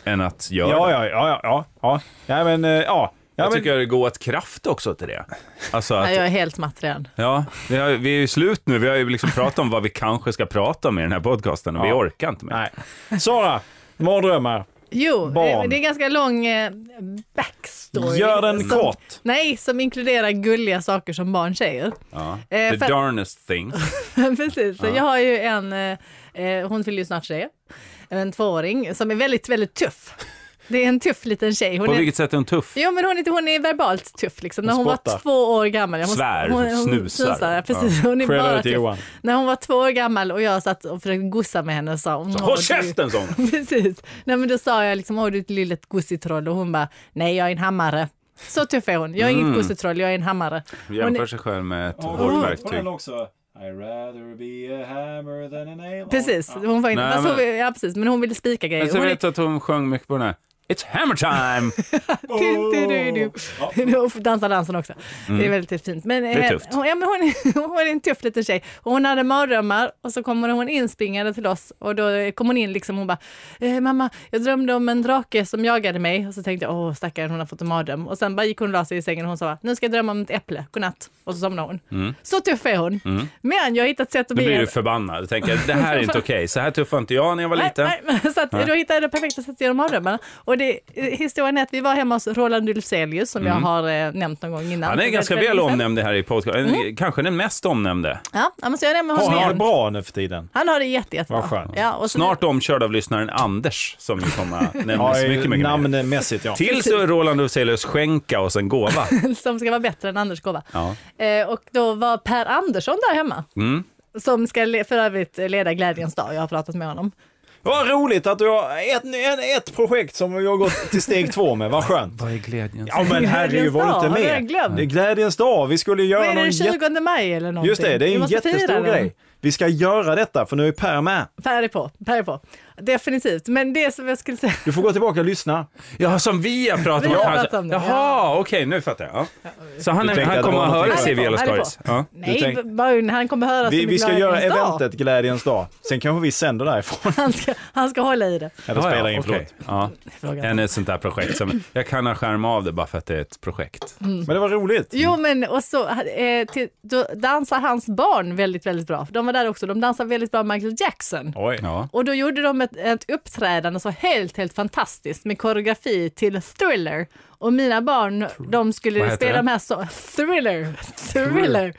[SPEAKER 1] Än att göra.
[SPEAKER 3] Ja, ja, ja, ja, ja, ja. Nej, men, eh, ja. ja
[SPEAKER 1] jag
[SPEAKER 3] men,
[SPEAKER 1] tycker det går åt kraft också till det. Alltså att,
[SPEAKER 2] Nej, jag är helt matt redan.
[SPEAKER 1] ja, vi, har, vi är ju slut nu, vi har ju liksom pratat om vad vi kanske ska prata om i den här podcasten och vi
[SPEAKER 3] Ja.
[SPEAKER 1] orkar inte mer.
[SPEAKER 3] Nej. Sara, mardrömmar.
[SPEAKER 2] Jo, eh,
[SPEAKER 3] Barn.
[SPEAKER 2] det är en ganska lång eh, backstory.
[SPEAKER 3] Gör den
[SPEAKER 2] som,
[SPEAKER 3] kort.
[SPEAKER 2] Nej, som inkluderar gulliga saker som barn säger.
[SPEAKER 1] Ja.
[SPEAKER 2] Eh,
[SPEAKER 1] The
[SPEAKER 2] för-
[SPEAKER 1] darnest thing.
[SPEAKER 2] Precis, jag har ju en, eh, eh, hon fyller ju snart tre, en tvååring som är väldigt, väldigt tuff. Det är en tuff liten tjej. Hon
[SPEAKER 1] På
[SPEAKER 2] är,
[SPEAKER 1] vilket sätt är hon tuff?
[SPEAKER 2] Jo men hon är, inte- hon är verbalt tuff liksom. När hon
[SPEAKER 3] spottar.
[SPEAKER 2] var två år gammal. ja, Hon,
[SPEAKER 1] Svär, snusar.
[SPEAKER 2] ja, precis. Hon är
[SPEAKER 3] Skäller
[SPEAKER 2] bara
[SPEAKER 3] ut till Johan.
[SPEAKER 2] tuff. När hon var två år gammal och jag satt och försökte gossa med henne och sa "Åh,
[SPEAKER 1] Håll
[SPEAKER 2] du-"
[SPEAKER 1] käften, sa hon.
[SPEAKER 2] Precis. Nej men då sa jag liksom, har du ett litet gossitroll? Och hon bara, nej jag är en hammare. Så tuff är hon. Jag är inget
[SPEAKER 1] Mm.
[SPEAKER 2] gossitroll, jag är en hammare. Hon
[SPEAKER 1] Jämför
[SPEAKER 2] är,
[SPEAKER 1] sig själv med ett
[SPEAKER 3] Och
[SPEAKER 1] hårdverktyg.
[SPEAKER 3] den också. I'd rather be a hammer than a nail.
[SPEAKER 2] precis, hon var inte,
[SPEAKER 1] Nej,
[SPEAKER 2] fast hon,
[SPEAKER 1] men-
[SPEAKER 2] vill- ja, precis, men hon ville spika grejer.
[SPEAKER 1] Jag
[SPEAKER 2] Hon är-
[SPEAKER 1] vet att hon sjöng mycket på den här. It's hammer time!
[SPEAKER 2] Du-du-du-du. Och Dansa dansen också. Det är väldigt fint. Men, det
[SPEAKER 1] Mm. är tufft.
[SPEAKER 2] Hon, ja, men hon, är- hon är en tuff liten tjej. Och Hon hade mardrömmar och så kommer hon inspringande till oss och då kom hon in liksom hon bara eh, mamma, jag drömde om en drake som jagade mig och så tänkte jag åh stackaren hon har fått en mardröm och sen bara gick hon och la sig i sängen och hon sa nu ska jag drömma om ett äpple, godnatt och så somnade hon. Så tuff är hon. Men jag har hittat sätt att
[SPEAKER 1] Då
[SPEAKER 2] bli
[SPEAKER 1] Mm. blir
[SPEAKER 2] en-
[SPEAKER 1] du förbannad. Du tänker, det här är inte okej. Så här tuff var inte jag när jag var
[SPEAKER 2] Nej,
[SPEAKER 1] liten.
[SPEAKER 2] nej, men så att, då hittade jag det perfekta sättet genom mardrömmarna. Och det, historien är att vi var hemma hos Roland Ulfzelius som
[SPEAKER 3] Mm.
[SPEAKER 2] jag har eh, nämnt någon gång innan.
[SPEAKER 1] Han är
[SPEAKER 2] Det
[SPEAKER 1] ganska
[SPEAKER 2] väldigt
[SPEAKER 1] väl
[SPEAKER 2] Mm. länge sedan.
[SPEAKER 1] omnämnd här i podcasten. Kanske den mest omnämnde.
[SPEAKER 2] Ja, ja, men så jag nämner
[SPEAKER 3] Har
[SPEAKER 2] honom
[SPEAKER 3] han det
[SPEAKER 2] igen.
[SPEAKER 3] bra nu för tiden?
[SPEAKER 2] Han har det jätte, jättebra.
[SPEAKER 3] Vad skönt.
[SPEAKER 2] Ja, och så-
[SPEAKER 1] Snart omkörd av lyssnaren Anders, som ju kommer att nämnas mycket, mycket mer.
[SPEAKER 3] namnmässigt ja.
[SPEAKER 1] Tills Roland Ulfzelius skänka oss en gåva.
[SPEAKER 2] Som ska vara bättre än Anders gåva.
[SPEAKER 1] Ja.
[SPEAKER 2] Eh, och då var Per Andersson där hemma.
[SPEAKER 3] Mm.
[SPEAKER 2] Som ska le- för övrigt leda Glädjens dag. Jag har pratat med honom.
[SPEAKER 3] Vad roligt att du har ett, ett, ett projekt som vi har gått till steg två med, vad skönt.
[SPEAKER 1] Vad är glädjen?
[SPEAKER 3] Ja men herregud, var du
[SPEAKER 2] dag,
[SPEAKER 3] inte
[SPEAKER 2] har
[SPEAKER 3] med?
[SPEAKER 2] jag glömt?
[SPEAKER 3] Det är glädjens dag, vi skulle
[SPEAKER 2] Vad
[SPEAKER 3] göra
[SPEAKER 2] är det,
[SPEAKER 3] någon
[SPEAKER 2] den
[SPEAKER 3] jätte...
[SPEAKER 2] 20 maj eller någonting?
[SPEAKER 3] Just det, det
[SPEAKER 2] Vi
[SPEAKER 3] är en
[SPEAKER 2] måste fira
[SPEAKER 3] jättestor
[SPEAKER 2] den.
[SPEAKER 3] grej. Vi ska göra detta, för nu är Per med.
[SPEAKER 2] Per är på, Per är på. Definitivt. Men det som jag skulle säga.
[SPEAKER 3] Du får gå tillbaka och lyssna.
[SPEAKER 2] Alltså,
[SPEAKER 1] Ja, som vi har pratat om.
[SPEAKER 2] Vi har
[SPEAKER 1] kanske.
[SPEAKER 2] pratat om det, ja.
[SPEAKER 1] Jaha, okej, nu fattar jag. Ja. Så han,
[SPEAKER 3] Du tänkte
[SPEAKER 1] han
[SPEAKER 3] att det
[SPEAKER 1] kommer
[SPEAKER 3] var
[SPEAKER 1] att höra
[SPEAKER 3] någonting.
[SPEAKER 1] sig i Vela
[SPEAKER 2] Han är på.
[SPEAKER 1] Stories. Ja.
[SPEAKER 2] Nej,
[SPEAKER 3] tänk-
[SPEAKER 2] bara- han kommer höra
[SPEAKER 3] Vi,
[SPEAKER 2] som
[SPEAKER 3] vi ska
[SPEAKER 2] Glädjens
[SPEAKER 3] göra
[SPEAKER 2] dag.
[SPEAKER 3] eventet Glädjens dag. Sen kanske vi sänder därifrån.
[SPEAKER 2] Han ska, han ska hålla i det.
[SPEAKER 3] Eller
[SPEAKER 1] Ja, ja,
[SPEAKER 3] spelar in,
[SPEAKER 1] okej.
[SPEAKER 3] förlåt.
[SPEAKER 1] Ja.
[SPEAKER 2] Frågan.
[SPEAKER 1] Än ett sånt där projekt som, jag kan ha skärma av det bara för att det är ett projekt.
[SPEAKER 3] Men det var roligt.
[SPEAKER 2] Jo, men och så eh, till, då dansar hans barn väldigt, väldigt bra. För De var där också. De dansar väldigt bra Michael Jackson.
[SPEAKER 3] Oj.
[SPEAKER 1] Ja.
[SPEAKER 2] Och då gjorde de ett, ett uppträdande så helt, helt fantastiskt med koreografi till Thriller. Och mina barn, de
[SPEAKER 1] Vad
[SPEAKER 2] skulle
[SPEAKER 1] heter
[SPEAKER 2] spela
[SPEAKER 1] den?
[SPEAKER 2] de här så Thriller, Thriller,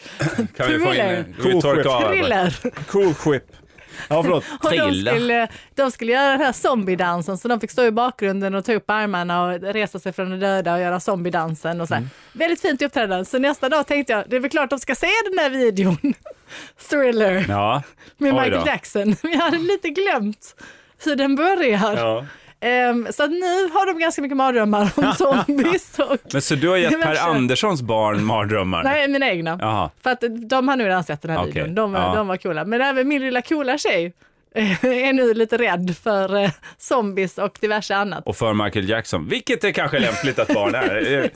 [SPEAKER 1] Kan vi få in,
[SPEAKER 2] Thriller.
[SPEAKER 1] kan vi torka av här bara?
[SPEAKER 2] Thriller.
[SPEAKER 3] Cool ship. Ja, förlåt.
[SPEAKER 2] Och de
[SPEAKER 1] Thriller.
[SPEAKER 2] skulle, de skulle göra den här zombiedansen så de fick stå i bakgrunden och ta upp armarna och resa sig från de döda och göra zombiedansen och så här.
[SPEAKER 1] Mm.
[SPEAKER 2] Väldigt fint uppträdande. Så nästa dag tänkte jag, det är väl klart de ska se den här videon. Thriller
[SPEAKER 1] Ja.
[SPEAKER 2] med
[SPEAKER 1] Oj
[SPEAKER 2] Michael
[SPEAKER 1] då.
[SPEAKER 2] Jackson. Men jag hade lite glömt hur den börjar.
[SPEAKER 3] Ja.
[SPEAKER 2] Ehm, så att nu har de ganska mycket mardrömmar om zombies och
[SPEAKER 1] Men så du har gett
[SPEAKER 2] Det var
[SPEAKER 1] Per
[SPEAKER 2] så-
[SPEAKER 1] Anderssons barn mardrömmar?
[SPEAKER 2] nej, mina egna.
[SPEAKER 1] Jaha.
[SPEAKER 2] För att de har nog redan sett den här
[SPEAKER 1] Okej,
[SPEAKER 2] videon. De, var-
[SPEAKER 1] ja.
[SPEAKER 2] de var coola. Men även min lilla coola tjej är nu lite rädd för eh, zombies och diverse annat.
[SPEAKER 1] Och för Michael Jackson, vilket är kanske lämpligt att barn är. Eh,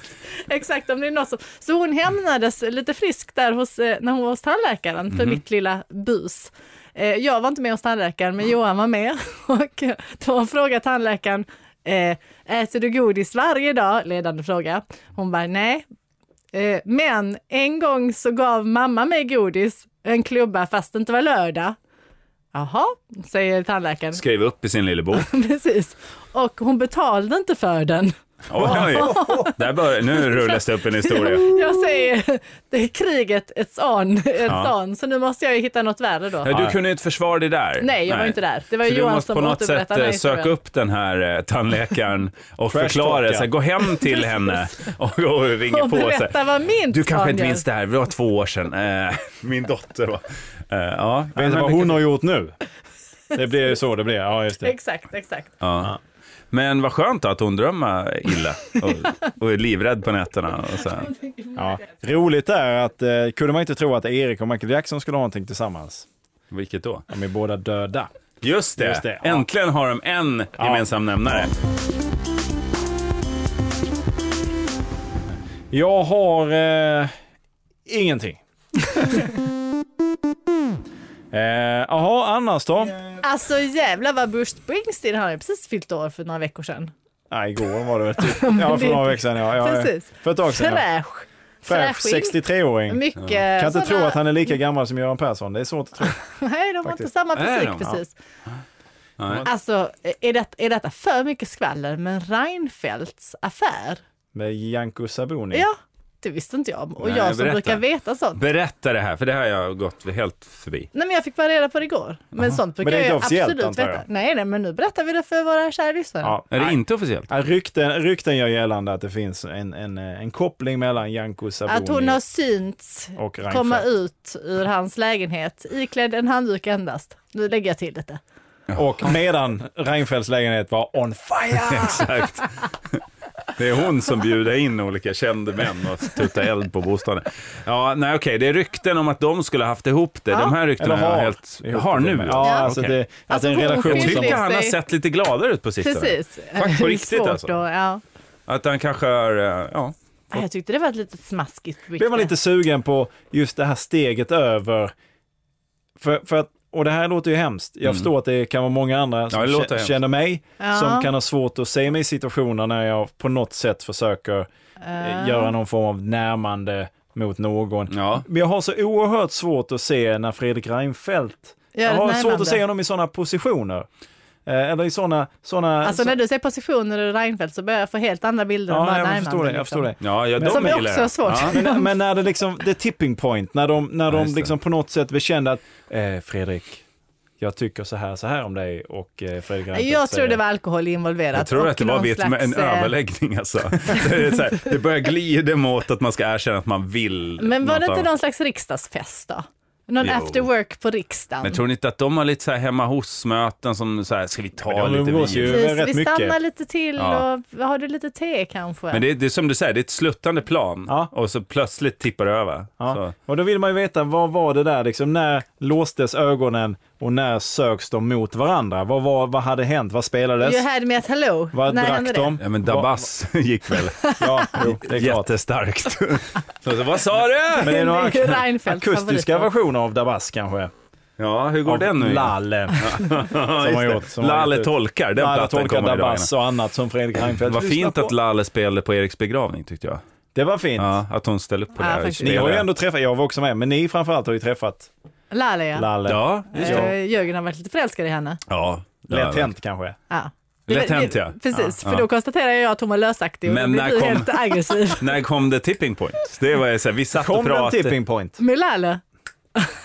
[SPEAKER 2] Exakt, om det är något som... Så hon hämnades lite frisk där hos, eh, när hon var hos tandläkaren för mitt lilla bus. Eh, Jag var inte med hos tandläkaren, men Johan var med och då frågade tandläkaren eh, Äter du godis varje dag? Ledande fråga. Hon bara nej. Eh, Men en gång så gav mamma mig godis, en klubba, fast det inte var lördag. Jaha, säger tandläkaren.
[SPEAKER 1] Skrev upp i sin lilla bok.
[SPEAKER 2] Precis. Och hon betalade inte för den.
[SPEAKER 1] Oj, där bör, nu rullas det upp en historia.
[SPEAKER 2] Jag säger, det är kriget, it's on, it's
[SPEAKER 1] Ja.
[SPEAKER 2] on. Så nu måste jag ju hitta något värre då.
[SPEAKER 1] Ja, Du kunde ju inte försvara dig där.
[SPEAKER 2] Nej, jag var inte där. Det var
[SPEAKER 1] Så
[SPEAKER 2] ju
[SPEAKER 1] du
[SPEAKER 2] Johan
[SPEAKER 1] måste
[SPEAKER 2] som
[SPEAKER 1] på något sätt
[SPEAKER 2] återberättade
[SPEAKER 1] eh,
[SPEAKER 2] den
[SPEAKER 1] söka
[SPEAKER 2] historien.
[SPEAKER 1] upp den här eh, tandläkaren och
[SPEAKER 3] Trash
[SPEAKER 1] förklara,
[SPEAKER 3] talka.
[SPEAKER 1] så här, gå hem till henne och, och ringa
[SPEAKER 2] Och
[SPEAKER 1] på. Så
[SPEAKER 2] berätta
[SPEAKER 1] här,
[SPEAKER 2] vad min
[SPEAKER 1] du kanske
[SPEAKER 2] son
[SPEAKER 1] inte
[SPEAKER 2] gör."
[SPEAKER 1] minns det här, det var två år sedan. Eh, Min dotter var... eh, Ja,
[SPEAKER 3] Vet du
[SPEAKER 1] men-
[SPEAKER 3] vad hon har gjort nu? Det blir så det blir, ja just det.
[SPEAKER 2] Exakt, exakt.
[SPEAKER 1] Ja. Men vad skönt då att hon drömmer illa och, och är livrädd på nätterna. Och så. här.
[SPEAKER 3] Ja. Roligt är att, eh, kunde man inte tro att Erik och Michael Jackson skulle ha någonting tillsammans?
[SPEAKER 1] Vilket då?
[SPEAKER 3] De är båda döda.
[SPEAKER 1] Just det,
[SPEAKER 3] Just det, ja.
[SPEAKER 1] äntligen har de en gemensam nämnare.
[SPEAKER 3] Jag har eh, ingenting. Eh, Jaha, annars då?
[SPEAKER 2] Alltså jävlar vad Bruce Springsteen, han har ju precis fyllt år för några veckor sedan.
[SPEAKER 3] Nej, igår var det väl typ. Ja, för några veckor sedan. Ja, ja, ja.
[SPEAKER 2] Precis.
[SPEAKER 3] För ett tag sedan. Ja.
[SPEAKER 2] Fräsch.
[SPEAKER 3] Fräsch
[SPEAKER 2] in.
[SPEAKER 3] 63-åring.
[SPEAKER 2] Mycket
[SPEAKER 3] Kan inte tro
[SPEAKER 2] sådana-
[SPEAKER 3] att han är lika gammal som Göran Persson. Det är svårt att tro.
[SPEAKER 2] Nej, de har inte
[SPEAKER 3] faktiskt.
[SPEAKER 2] samma
[SPEAKER 1] Är
[SPEAKER 2] fysik
[SPEAKER 1] de?
[SPEAKER 2] precis.
[SPEAKER 1] Nej.
[SPEAKER 2] Alltså, är, det, är detta för mycket skvaller? Men Reinfeldts affär?
[SPEAKER 3] Med Janko Sabuni.
[SPEAKER 2] Ja, det visste inte jag om. Och
[SPEAKER 1] Nej,
[SPEAKER 2] jag som
[SPEAKER 1] berätta.
[SPEAKER 2] brukar veta sånt.
[SPEAKER 1] Berätta det här, för det här har jag gått helt förbi.
[SPEAKER 2] Nej men jag fick bara reda på det igår. Men sånt brukar
[SPEAKER 3] Men det är inte
[SPEAKER 2] jag
[SPEAKER 3] officiellt,
[SPEAKER 2] absolut
[SPEAKER 3] antar jag.
[SPEAKER 2] veta. Nej, nej men nu berättar vi det för våra kära lyssnare.
[SPEAKER 3] Ja.
[SPEAKER 1] Är det inte officiellt?
[SPEAKER 3] Ja, Rykten, rykten gör gällande att det finns en, en, en koppling mellan Janko Sabuni
[SPEAKER 2] Att hon har synts
[SPEAKER 3] och Reinfeldt.
[SPEAKER 2] komma ut ur hans lägenhet iklädd en handduk endast. Nu lägger jag till detta.
[SPEAKER 3] Och medan Reinfeldts lägenhet var on fire.
[SPEAKER 1] Exakt. Det är hon som bjuder in olika kända män och tuttar eld på bostaden. Ja, nej okej, det är rykten om att de skulle ha haft ihop det. De här ryktena
[SPEAKER 3] Eller
[SPEAKER 1] har
[SPEAKER 3] har.
[SPEAKER 1] helt... Har nu?
[SPEAKER 3] Ja,
[SPEAKER 1] Okej.
[SPEAKER 3] alltså det, att
[SPEAKER 2] Alltså,
[SPEAKER 3] det är
[SPEAKER 2] hon
[SPEAKER 3] en relation
[SPEAKER 1] Jag
[SPEAKER 2] skiljer
[SPEAKER 3] som...
[SPEAKER 1] tycker han har
[SPEAKER 2] sig.
[SPEAKER 1] sett lite gladare ut på sistone.
[SPEAKER 2] Precis.
[SPEAKER 1] Fakt- på
[SPEAKER 2] Det är
[SPEAKER 1] riktigt
[SPEAKER 2] svårt
[SPEAKER 1] alltså.
[SPEAKER 2] Då, ja.
[SPEAKER 1] Att han kanske har... eh, Ja.
[SPEAKER 2] Ja, Jag tyckte det var ett litet smaskigt rykte.
[SPEAKER 3] Blev man lite sugen på just det här steget över. För, för att, och det här låter ju hemskt. Jag förstår att det kan vara många andra som
[SPEAKER 1] Mm. det låter
[SPEAKER 3] kä-
[SPEAKER 1] hemskt.
[SPEAKER 3] känner mig,
[SPEAKER 2] Ja.
[SPEAKER 3] som kan ha svårt att se mig i situationer när jag på något sätt försöker eh, göra någon form av närmande mot någon.
[SPEAKER 1] Ja.
[SPEAKER 3] Men jag har så oerhört svårt att se när Fredrik Reinfeldt,
[SPEAKER 2] Gör
[SPEAKER 3] jag
[SPEAKER 2] ett
[SPEAKER 3] har svårt
[SPEAKER 2] närmande.
[SPEAKER 3] att se honom i sådana positioner. Eh, Eller i sådana, sådana...
[SPEAKER 2] Alltså
[SPEAKER 3] så-
[SPEAKER 2] när du säger positioner och Reinfeldt så börjar jag få helt andra bilder än
[SPEAKER 3] ja,
[SPEAKER 2] bara
[SPEAKER 3] jag
[SPEAKER 2] närmanden,
[SPEAKER 3] förstår det,
[SPEAKER 2] liksom.
[SPEAKER 3] jag förstår det.
[SPEAKER 1] Ja, ja, de
[SPEAKER 2] Som är
[SPEAKER 1] gillar
[SPEAKER 2] också
[SPEAKER 1] jag.
[SPEAKER 2] svårt.
[SPEAKER 1] Ja.
[SPEAKER 3] Men, men när det liksom, det är tipping point, när de, när de
[SPEAKER 1] just det.
[SPEAKER 3] liksom på något sätt bekände att eh, Fredrik, jag tycker så här, så här om dig och eh, Fredrik Reinfeldt
[SPEAKER 2] Jag tror
[SPEAKER 3] säger-
[SPEAKER 2] det var alkohol involverat.
[SPEAKER 1] Jag tror
[SPEAKER 2] och
[SPEAKER 1] att det var
[SPEAKER 2] någon
[SPEAKER 1] vid ett, en
[SPEAKER 2] slags, eh,
[SPEAKER 1] överläggning alltså. Det, är så här, det börjar glida mot att man ska erkänna att man vill
[SPEAKER 2] Men var det
[SPEAKER 1] något
[SPEAKER 2] inte
[SPEAKER 1] annat.
[SPEAKER 2] någon slags riksdagsfest då? Någon
[SPEAKER 1] Jo.
[SPEAKER 2] after work på riksdagen?
[SPEAKER 1] Men tror ni inte att de har lite så här hemma hos-möten som så här, ska vi ta
[SPEAKER 3] Men de
[SPEAKER 1] lite
[SPEAKER 3] umgås
[SPEAKER 1] vin?
[SPEAKER 3] ju.
[SPEAKER 2] Precis,
[SPEAKER 3] rätt
[SPEAKER 2] vi
[SPEAKER 3] mycket.
[SPEAKER 2] stannar lite till
[SPEAKER 1] Ja.
[SPEAKER 2] och har du lite te kanske?
[SPEAKER 1] Men det är, det är som du säger, det är ett sluttande plan
[SPEAKER 3] Ja.
[SPEAKER 1] och så plötsligt tippar det över.
[SPEAKER 3] Ja.
[SPEAKER 1] Så.
[SPEAKER 3] Och då vill man ju veta, vad var det där liksom, när låstes ögonen och när söks de mot varandra? Vad, vad, vad hade hänt? Vad spelades?
[SPEAKER 2] You had me at hello.
[SPEAKER 3] Vad
[SPEAKER 2] När hände
[SPEAKER 3] drack de?
[SPEAKER 1] Ja, men Dabas gick väl
[SPEAKER 3] Ja, jo, det är klart.
[SPEAKER 1] jättestarkt. så, så, vad sa du?
[SPEAKER 3] Men det är några
[SPEAKER 2] Det är ju Reinfeldts
[SPEAKER 3] akustiska
[SPEAKER 2] favorit.
[SPEAKER 3] versioner av Dabas kanske.
[SPEAKER 1] Ja, hur går
[SPEAKER 3] Av
[SPEAKER 1] den nu? igen?
[SPEAKER 3] Lalle.
[SPEAKER 1] Ja,
[SPEAKER 3] som
[SPEAKER 1] just
[SPEAKER 3] har
[SPEAKER 1] det.
[SPEAKER 3] gjort- som har
[SPEAKER 1] Lalle
[SPEAKER 3] gett ut.
[SPEAKER 1] tolkar, den
[SPEAKER 3] Lalle
[SPEAKER 1] plattan
[SPEAKER 3] tolkar
[SPEAKER 1] kommer i dagarna.
[SPEAKER 3] Dabas och annat som Fredrik Reinfeldt
[SPEAKER 1] Vad
[SPEAKER 3] lyssnar
[SPEAKER 1] fint
[SPEAKER 3] på.
[SPEAKER 1] att Lalle spelade på Eriks begravning tyckte jag.
[SPEAKER 3] Det var fint.
[SPEAKER 1] Ja, att hon ställde upp på
[SPEAKER 2] Ja,
[SPEAKER 1] det. här.
[SPEAKER 2] faktiskt.
[SPEAKER 3] Ni har ju
[SPEAKER 1] Spelade.
[SPEAKER 3] ändå träffat, jag var också med, men ni framförallt har ju träffat
[SPEAKER 2] Lalle ja.
[SPEAKER 3] Lalle.
[SPEAKER 1] Ja, just det.
[SPEAKER 2] Eh, Jörgen har varit lite förälskad i henne.
[SPEAKER 1] Ja. det har
[SPEAKER 3] Lätt
[SPEAKER 1] jag.
[SPEAKER 3] hänt kanske.
[SPEAKER 2] Ja.
[SPEAKER 1] Lätt
[SPEAKER 2] Det- det-
[SPEAKER 1] hänt, ja.
[SPEAKER 2] Precis,
[SPEAKER 1] Ja.
[SPEAKER 2] för då konstaterar jag att hon var lösaktig och
[SPEAKER 1] Men
[SPEAKER 2] Men då
[SPEAKER 1] när
[SPEAKER 2] blir du
[SPEAKER 1] kom-
[SPEAKER 2] helt aggressiv.
[SPEAKER 1] När kom det tipping point? Det var ju så här, vi satt och
[SPEAKER 3] Kom den
[SPEAKER 1] pratade.
[SPEAKER 3] tipping point?
[SPEAKER 2] Med Lalle?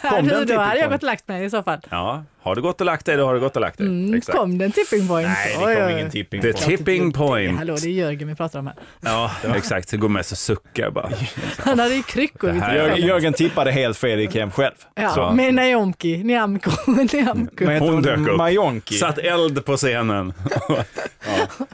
[SPEAKER 3] den
[SPEAKER 2] Kom då
[SPEAKER 3] tipping
[SPEAKER 2] hade jag
[SPEAKER 3] point?
[SPEAKER 2] gått och lagt mig i så fall.
[SPEAKER 1] Ja, har du gått och lagt dig, då har du gått och lagt dig. Exakt.
[SPEAKER 2] Mm, Kom den tipping point?
[SPEAKER 3] Nej, det
[SPEAKER 2] Oj,
[SPEAKER 3] kom
[SPEAKER 2] oj, oj.
[SPEAKER 3] ingen tipping
[SPEAKER 1] The
[SPEAKER 3] point.
[SPEAKER 1] tipping point.
[SPEAKER 2] Hallå, det är Jörgen vi pratar om här.
[SPEAKER 1] Ja, exakt. Så går med och suckar bara.
[SPEAKER 2] Han hade ju kryckor vid
[SPEAKER 1] Det här-
[SPEAKER 2] tillfället.
[SPEAKER 3] Jörgen, Jörgen tippade helt fel, gick hem själv.
[SPEAKER 2] Ja, med Naomi, Niamko, Niamko.
[SPEAKER 3] Vad heter
[SPEAKER 1] Hon dök upp.
[SPEAKER 3] Majonki.
[SPEAKER 1] Satt eld på scenen. ja.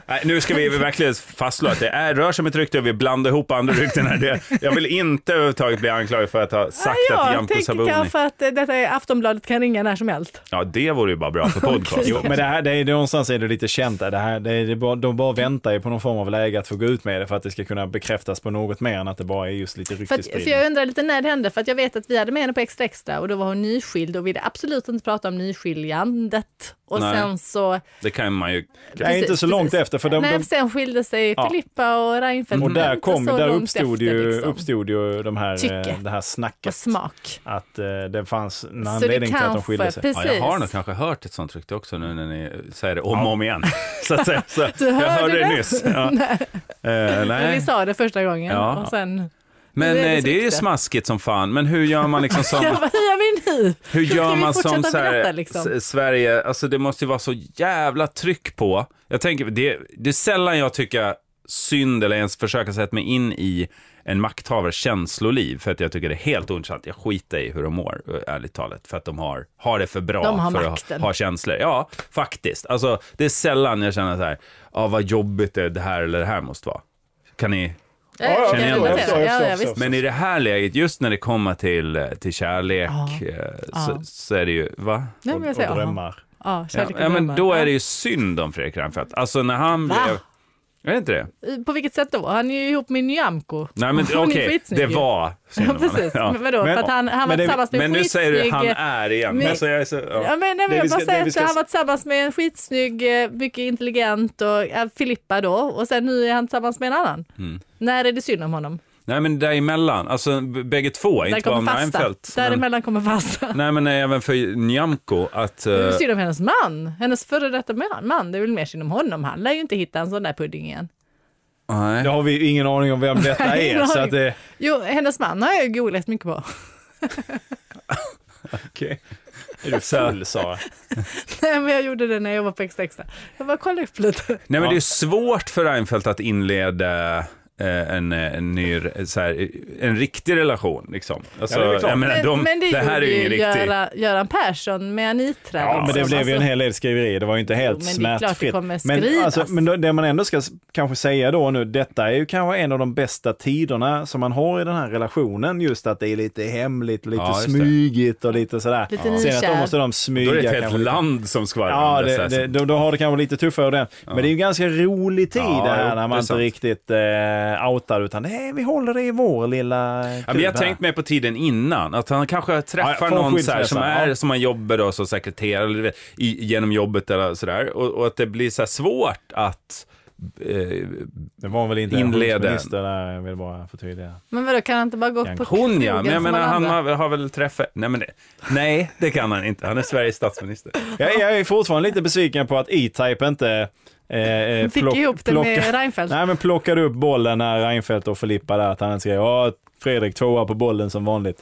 [SPEAKER 1] Nej, nu ska vi verkligen fastslå att det är, rör sig om ett rykte och vi blandar ihop andra rykten här. Det, jag vill inte överhuvudtaget bli anklagad för att ha sagt
[SPEAKER 2] Ja,
[SPEAKER 1] att
[SPEAKER 2] jag
[SPEAKER 1] Jamko
[SPEAKER 2] tänker
[SPEAKER 1] Sabuni...
[SPEAKER 2] kanske att eh, detta är Aftonbladet kan ringa när som helst.
[SPEAKER 1] Ja, det vore ju bara bra för podcast.
[SPEAKER 3] Jo, men det här, det är, någonstans är det lite känt där. Det här, det är, det är bara, de bara väntar ju på någon form av läge att få gå ut med det för att det ska kunna bekräftas på något mer än att det bara är just lite
[SPEAKER 2] För, att, för
[SPEAKER 3] ryktesspridning.
[SPEAKER 2] jag undrar lite när det hände, för att jag vet att vi hade med henne på Extra Extra och då var hon nyskild och ville absolut inte prata om nyskiljandet. Och
[SPEAKER 1] Nej.
[SPEAKER 2] sen så...
[SPEAKER 1] Det kan man ju...
[SPEAKER 3] Det är inte
[SPEAKER 2] precis,
[SPEAKER 3] så långt
[SPEAKER 2] precis.
[SPEAKER 3] efter, för de,
[SPEAKER 2] nej,
[SPEAKER 3] de,
[SPEAKER 2] sen skilde sig
[SPEAKER 3] Ja. Mm.
[SPEAKER 2] Filippa och Reinfeldt.
[SPEAKER 3] och
[SPEAKER 2] men
[SPEAKER 3] där,
[SPEAKER 2] inte
[SPEAKER 3] kom,
[SPEAKER 2] så
[SPEAKER 3] där
[SPEAKER 2] långt
[SPEAKER 3] uppstod,
[SPEAKER 2] efter,
[SPEAKER 3] ju,
[SPEAKER 2] liksom.
[SPEAKER 3] uppstod ju de här,
[SPEAKER 2] Tycke.
[SPEAKER 3] eh, det här snacket.
[SPEAKER 2] Och smak.
[SPEAKER 3] Att eh, det fanns en
[SPEAKER 2] Så det
[SPEAKER 3] anledning till att de
[SPEAKER 2] kanske,
[SPEAKER 3] skilde sig.
[SPEAKER 1] Ja,
[SPEAKER 2] precis.
[SPEAKER 1] jag har nog kanske hört ett sånt rykte också nu när ni säger det om och om igen. Så att säga. Så
[SPEAKER 2] Du
[SPEAKER 1] jag
[SPEAKER 2] hörde
[SPEAKER 1] hörde det
[SPEAKER 2] det?
[SPEAKER 1] nyss. Ja. Eh,
[SPEAKER 2] Men vi
[SPEAKER 1] nej.
[SPEAKER 2] sa det första gången
[SPEAKER 1] Ja.
[SPEAKER 2] och sen...
[SPEAKER 1] Men
[SPEAKER 2] det är
[SPEAKER 1] eh,
[SPEAKER 2] ett
[SPEAKER 1] det är ju
[SPEAKER 2] rykte.
[SPEAKER 1] smaskigt som fan. Men hur gör man liksom som...
[SPEAKER 2] Ja, vad gör vi nu?
[SPEAKER 1] Hur
[SPEAKER 2] Ska
[SPEAKER 1] gör
[SPEAKER 2] vi
[SPEAKER 1] man som
[SPEAKER 2] fortsätta
[SPEAKER 1] så här,
[SPEAKER 2] berätta, liksom?
[SPEAKER 1] S- Sverige, alltså det måste ju vara så jävla tryck på. Jag tänker, det, det är sällan jag tycker synd eller ens försöka sätta mig in i en makthavares känsloliv för att jag tycker det är helt ointressant. Jag skiter i hur de mår, ö- ärligt talat, för att de har, har det för bra
[SPEAKER 2] De har
[SPEAKER 1] för
[SPEAKER 2] makten.
[SPEAKER 1] att ha, ha känslor. Ja, faktiskt. Alltså, det är sällan jag känner så här, ah, vad jobbigt det, det här eller det här måste vara. Kan ni
[SPEAKER 2] Ja, jag
[SPEAKER 1] känner igen det.
[SPEAKER 2] relatera.
[SPEAKER 1] Förstår,
[SPEAKER 2] Ja,
[SPEAKER 3] förstår,
[SPEAKER 2] ja, visst.
[SPEAKER 3] förstår.
[SPEAKER 1] men i det här läget, just när det kommer till, till kärlek,
[SPEAKER 2] Ja.
[SPEAKER 1] eh,
[SPEAKER 2] Ja.
[SPEAKER 1] Så, så är det ju, va?
[SPEAKER 2] Nej,
[SPEAKER 3] Och,
[SPEAKER 2] men jag
[SPEAKER 3] och
[SPEAKER 2] säger, aha.
[SPEAKER 3] drömmar.
[SPEAKER 2] Ja,
[SPEAKER 1] Ja,
[SPEAKER 2] kärlek och
[SPEAKER 1] ja, men
[SPEAKER 2] drömmar.
[SPEAKER 1] då är det ju synd om Fredrik Reinfeldt. Alltså när han
[SPEAKER 2] Va?
[SPEAKER 1] blev... Är det inte det?
[SPEAKER 2] På vilket sätt då? Han är ju ihop med Nyamko.
[SPEAKER 1] Nej men
[SPEAKER 2] Hon är
[SPEAKER 1] okej,
[SPEAKER 2] skitsnygg
[SPEAKER 1] det
[SPEAKER 2] ju.
[SPEAKER 1] var synd
[SPEAKER 2] Ja,
[SPEAKER 1] om honom.
[SPEAKER 2] precis.
[SPEAKER 1] Ja.
[SPEAKER 2] Men vadå?
[SPEAKER 3] Men-
[SPEAKER 2] för att han, han var
[SPEAKER 3] men det-
[SPEAKER 2] tillsammans med
[SPEAKER 1] Men
[SPEAKER 2] en
[SPEAKER 1] nu säger du
[SPEAKER 2] skitsnygg...
[SPEAKER 1] han är igen.
[SPEAKER 2] Men-
[SPEAKER 1] Alltså, jag är så, ja.
[SPEAKER 2] Ja, men, nej, men
[SPEAKER 3] Det
[SPEAKER 2] jag bara
[SPEAKER 3] vi ska- det
[SPEAKER 2] säger
[SPEAKER 3] vi
[SPEAKER 2] att
[SPEAKER 3] ska-
[SPEAKER 2] han var tillsammans med en skitsnygg, eh, mycket intelligent och ja, Filippa då och sen nu är han tillsammans med en annan.
[SPEAKER 1] Mm.
[SPEAKER 2] När är det synd om honom?
[SPEAKER 1] Nej men däremellan, alltså b- bägge två,
[SPEAKER 2] Där
[SPEAKER 1] inte bara om
[SPEAKER 2] kommer fasta.
[SPEAKER 1] Reinfeldt. Men,
[SPEAKER 2] Däremellan kommer fasta.
[SPEAKER 1] nej men även för Nyamko att... eh,
[SPEAKER 2] Det är synd om hennes man, hennes före detta man- man. Det är väl mer synd om honom. Han lär ju inte hitta en sån där pudding igen.
[SPEAKER 1] nej.
[SPEAKER 3] Det har vi ju ingen aning om vem detta
[SPEAKER 2] Nej,
[SPEAKER 3] är.
[SPEAKER 2] ingen
[SPEAKER 3] så
[SPEAKER 2] aning.
[SPEAKER 3] att det,
[SPEAKER 2] Jo, hennes man har jag ju googlat mycket på.
[SPEAKER 3] okay. Är du full Sara?
[SPEAKER 2] Nej, men jag gjorde det när jag var på Extra Extra. Jag bara kollade upp lite.
[SPEAKER 1] nej men
[SPEAKER 3] Ja.
[SPEAKER 1] det är svårt för Reinfeldt att inleda eh, en, eh, en ny, så här, en riktig relation liksom. Alltså,
[SPEAKER 3] Ja, det är klart.
[SPEAKER 1] jag menar, de,
[SPEAKER 2] men det,
[SPEAKER 1] det här är ju ingen riktig...
[SPEAKER 2] Göran, Göran Persson med Anitra.
[SPEAKER 3] Ja, men det
[SPEAKER 2] liksom.
[SPEAKER 3] blev ju en
[SPEAKER 2] Alltså,
[SPEAKER 3] hel del skriverier. Det var ju inte helt
[SPEAKER 2] Jo, men det är klart det
[SPEAKER 3] smärtfritt.
[SPEAKER 2] kommer
[SPEAKER 3] men, alltså,
[SPEAKER 2] skrivas.
[SPEAKER 3] men då- det man ändå ska s- kanske säga då nu, detta är ju kanske en av de bästa tiderna som man har i den här relationen. Just att det är lite hemligt, och lite
[SPEAKER 1] Ja, just det.
[SPEAKER 3] smygigt och lite sådär.
[SPEAKER 2] Lite
[SPEAKER 3] Sen att
[SPEAKER 2] nykär.
[SPEAKER 3] då måste de
[SPEAKER 1] Då
[SPEAKER 3] smyga.
[SPEAKER 1] är det ett
[SPEAKER 3] kanske
[SPEAKER 1] helt
[SPEAKER 3] lite.
[SPEAKER 1] land som skvallrar
[SPEAKER 3] Ja,
[SPEAKER 1] om
[SPEAKER 3] det,
[SPEAKER 1] dessa-
[SPEAKER 3] det, då, då har det kanske lite tuffare den. Men det är ju ganska rolig tid
[SPEAKER 1] Ja,
[SPEAKER 3] det
[SPEAKER 1] jo,
[SPEAKER 3] här
[SPEAKER 1] det är
[SPEAKER 3] när man inte
[SPEAKER 1] sant.
[SPEAKER 3] riktigt eh, outar utan nej, vi håller det i vår lilla
[SPEAKER 1] Ja, men jag
[SPEAKER 3] kub här.
[SPEAKER 1] har tänkt mig på tiden innan, att han kanske
[SPEAKER 3] Ja,
[SPEAKER 1] träffar
[SPEAKER 3] från
[SPEAKER 1] någon så här,
[SPEAKER 3] skilsmässan,
[SPEAKER 1] som, är,
[SPEAKER 3] ja.
[SPEAKER 1] som han jobbar då, som sekreterare eller, du vet, i, genom jobbet eller sådär. Och, och att det blir så här svårt att... Eh,
[SPEAKER 3] Det var väl inte
[SPEAKER 1] Inleden.
[SPEAKER 3] inledningsminister där, jag vill bara förtydliga.
[SPEAKER 2] Men vadå, kan han inte bara gå på
[SPEAKER 1] hon ja, men
[SPEAKER 2] krogen
[SPEAKER 1] jag
[SPEAKER 2] som
[SPEAKER 1] menar
[SPEAKER 2] alla
[SPEAKER 1] han
[SPEAKER 2] andra?
[SPEAKER 1] har, har väl träffat... Nej, men det, nej, det kan han inte. Han är Sveriges statsminister.
[SPEAKER 3] Jag, jag är fortfarande lite besviken på att E-Type inte eh, eh,
[SPEAKER 2] Fick
[SPEAKER 3] plock-
[SPEAKER 2] ihop det
[SPEAKER 3] plocka-
[SPEAKER 2] med Reinfeldt.
[SPEAKER 3] Nej, men plockade upp bollen när Reinfeldt och Filippa där, att han skrev ja, Fredrik tvåa på bollen som vanligt.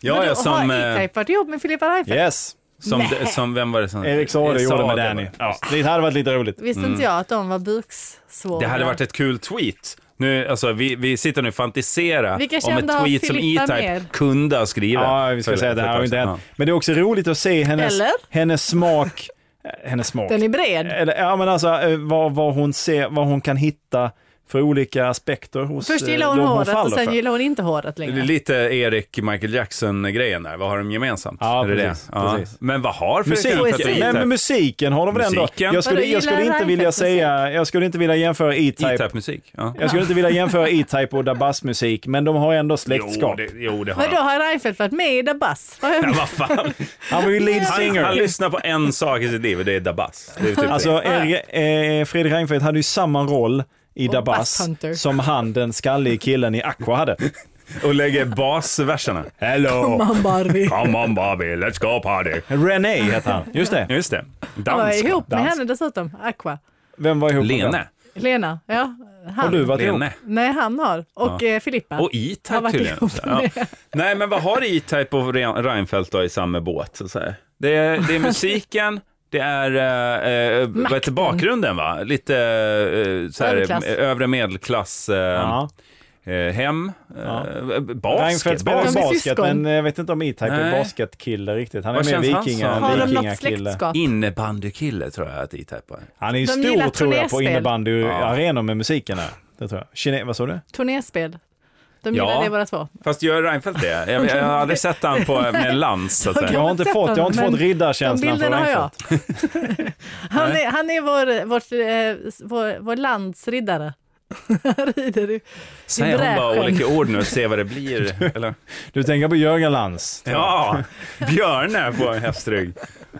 [SPEAKER 1] Ja,
[SPEAKER 2] Men
[SPEAKER 1] ja,
[SPEAKER 2] då,
[SPEAKER 1] som...
[SPEAKER 2] Har
[SPEAKER 1] eh,
[SPEAKER 2] E-Type varit ihop med Filippa Reinfeldt?
[SPEAKER 3] Yes!
[SPEAKER 1] Som, de- som, vem var det som...
[SPEAKER 3] Erik Saade gjorde det med
[SPEAKER 1] Saade,
[SPEAKER 3] Danny.
[SPEAKER 1] va?
[SPEAKER 3] Ja, det hade varit lite roligt.
[SPEAKER 2] Visste inte jag att de var buksvåra?
[SPEAKER 1] Mm. Det hade varit ett kul tweet. Nu, alltså, vi, vi sitter nu och fantiserar
[SPEAKER 2] Vilka
[SPEAKER 1] om
[SPEAKER 2] kända
[SPEAKER 1] ett
[SPEAKER 2] har
[SPEAKER 1] tweet som
[SPEAKER 2] Filippa
[SPEAKER 1] E-Type
[SPEAKER 2] med?
[SPEAKER 1] kunde ha skrivit.
[SPEAKER 3] Ja, vi ska
[SPEAKER 1] För-
[SPEAKER 3] säga att det
[SPEAKER 1] för ett
[SPEAKER 3] här har
[SPEAKER 1] tag
[SPEAKER 3] ju inte
[SPEAKER 1] sedan.
[SPEAKER 3] hänt. Men det är också roligt att se hennes,
[SPEAKER 2] Eller?
[SPEAKER 3] hennes smak. eh, Hennes smak.
[SPEAKER 2] Den är bred.
[SPEAKER 3] Eller, ja, men alltså eh, vad, vad hon ser, vad hon kan hitta för olika aspekter hos
[SPEAKER 2] Först
[SPEAKER 3] eh,
[SPEAKER 2] gillar hon
[SPEAKER 3] de
[SPEAKER 2] håret och
[SPEAKER 3] faller
[SPEAKER 2] sen
[SPEAKER 3] för.
[SPEAKER 2] gillar hon inte håret
[SPEAKER 1] Det är
[SPEAKER 2] längre.
[SPEAKER 1] lite Erik Michael Jackson-grejen där. Vad har de gemensamt?
[SPEAKER 3] Ja,
[SPEAKER 1] Är det
[SPEAKER 3] precis,
[SPEAKER 1] det? Ja.
[SPEAKER 3] preväl
[SPEAKER 1] Men vad har Fredrik
[SPEAKER 3] Musik,
[SPEAKER 1] Reinfeldt och
[SPEAKER 3] nej, men
[SPEAKER 1] E-Type?
[SPEAKER 3] musiken har de väl ändå.
[SPEAKER 1] Musiken?
[SPEAKER 3] Jag skulle,
[SPEAKER 2] Vadå,
[SPEAKER 3] jag skulle
[SPEAKER 2] gillar
[SPEAKER 3] inte vilja
[SPEAKER 2] Reinfeldt
[SPEAKER 3] säga, jag skulle inte vilja jämföra E-Type.
[SPEAKER 1] E-Type-musik? Ja.
[SPEAKER 3] Jag skulle inte vilja jämföra E-Type och Dabas-musik, men de har ändå
[SPEAKER 1] Jo,
[SPEAKER 3] släktskap.
[SPEAKER 1] det, jo, det har
[SPEAKER 2] Men då
[SPEAKER 1] han.
[SPEAKER 2] har Reinfeldt varit med i The Buzz.
[SPEAKER 1] Ja, vad fan.
[SPEAKER 3] Han var ju lead
[SPEAKER 1] Han, han
[SPEAKER 3] singer.
[SPEAKER 1] lyssnar på en sak i sitt liv och det är Dabas. Det är typ
[SPEAKER 3] Alltså, Erik- eh, Fredrik Reinfeldt hade ju samma roll i
[SPEAKER 2] Och Bass
[SPEAKER 3] Dabas
[SPEAKER 2] Hunter.
[SPEAKER 3] som han, den skallige killen i Aqua hade.
[SPEAKER 1] det. Och lägger basverserna. Hello!
[SPEAKER 2] Man Barbie.
[SPEAKER 1] Come on Bobby, let's go party.
[SPEAKER 3] René hette han, just det.
[SPEAKER 1] Just det.
[SPEAKER 2] Han var
[SPEAKER 1] Dansk.
[SPEAKER 2] ihop med
[SPEAKER 3] Dans.
[SPEAKER 2] henne dessutom, Aqua.
[SPEAKER 3] Vem var ihop med vem?
[SPEAKER 1] Lene.
[SPEAKER 2] Lena, ja. Han.
[SPEAKER 3] Har du varit ihop?
[SPEAKER 1] Lene.
[SPEAKER 2] Nej, han har. Och eh, Filippa.
[SPEAKER 1] Och
[SPEAKER 2] Har
[SPEAKER 1] E-Type
[SPEAKER 2] varit
[SPEAKER 1] tydligen.
[SPEAKER 2] ihop
[SPEAKER 1] också. Ja. Nej, men vad har E-Type och Re- Reinfeldt då i samma båt? Så att säga? Det, är, det är musiken, det är eh, eh, vad heter bakgrunden, va? Lite eh, så här,
[SPEAKER 2] Överklass.
[SPEAKER 1] eh, övre medelklass eh,
[SPEAKER 3] Ja.
[SPEAKER 1] eh, hem. Eh,
[SPEAKER 3] Reinfeldt
[SPEAKER 1] basket.
[SPEAKER 3] spelar
[SPEAKER 2] basket.
[SPEAKER 3] basket,
[SPEAKER 2] De är
[SPEAKER 3] basket
[SPEAKER 2] syskon.
[SPEAKER 3] men jag vet inte om E-Type är
[SPEAKER 1] Nej.
[SPEAKER 3] basketkille riktigt. Han är
[SPEAKER 1] Vad
[SPEAKER 3] mer
[SPEAKER 1] känns han
[SPEAKER 3] vikinga
[SPEAKER 1] som?
[SPEAKER 2] har
[SPEAKER 3] än
[SPEAKER 2] de något
[SPEAKER 3] vikingakille.
[SPEAKER 2] släktskap?
[SPEAKER 1] Innebandykille tror jag att E-Type är.
[SPEAKER 3] Han är ju
[SPEAKER 2] De gillar
[SPEAKER 3] stor tror jag på
[SPEAKER 2] turnéspel.
[SPEAKER 3] innebandyarenor med musiken här. Det tror jag. Kine, vad sa du?
[SPEAKER 2] Turnéspel. De De
[SPEAKER 1] Ja.
[SPEAKER 2] gillar det båda två.
[SPEAKER 1] Fast gör Reinfeldt det? Jag, jag har aldrig sett han på, med lans, så att
[SPEAKER 2] Okej.
[SPEAKER 3] Jag
[SPEAKER 1] säga.
[SPEAKER 3] har inte
[SPEAKER 2] sett
[SPEAKER 3] fått, jag har inte
[SPEAKER 2] honom,
[SPEAKER 3] fått
[SPEAKER 2] men de
[SPEAKER 3] riddarkänslan för
[SPEAKER 2] bilderna har jag.
[SPEAKER 3] Reinfeldt.
[SPEAKER 2] han, är, han är vår, vårt, eh, vår, vår landsriddare. Rider i-
[SPEAKER 1] Säg hon bara
[SPEAKER 2] bräschen.
[SPEAKER 1] olika ord nu och se vad det blir. Eller?
[SPEAKER 3] Du tänker på Jörgen Lantz?
[SPEAKER 1] Ja, Björne på en hästrygg.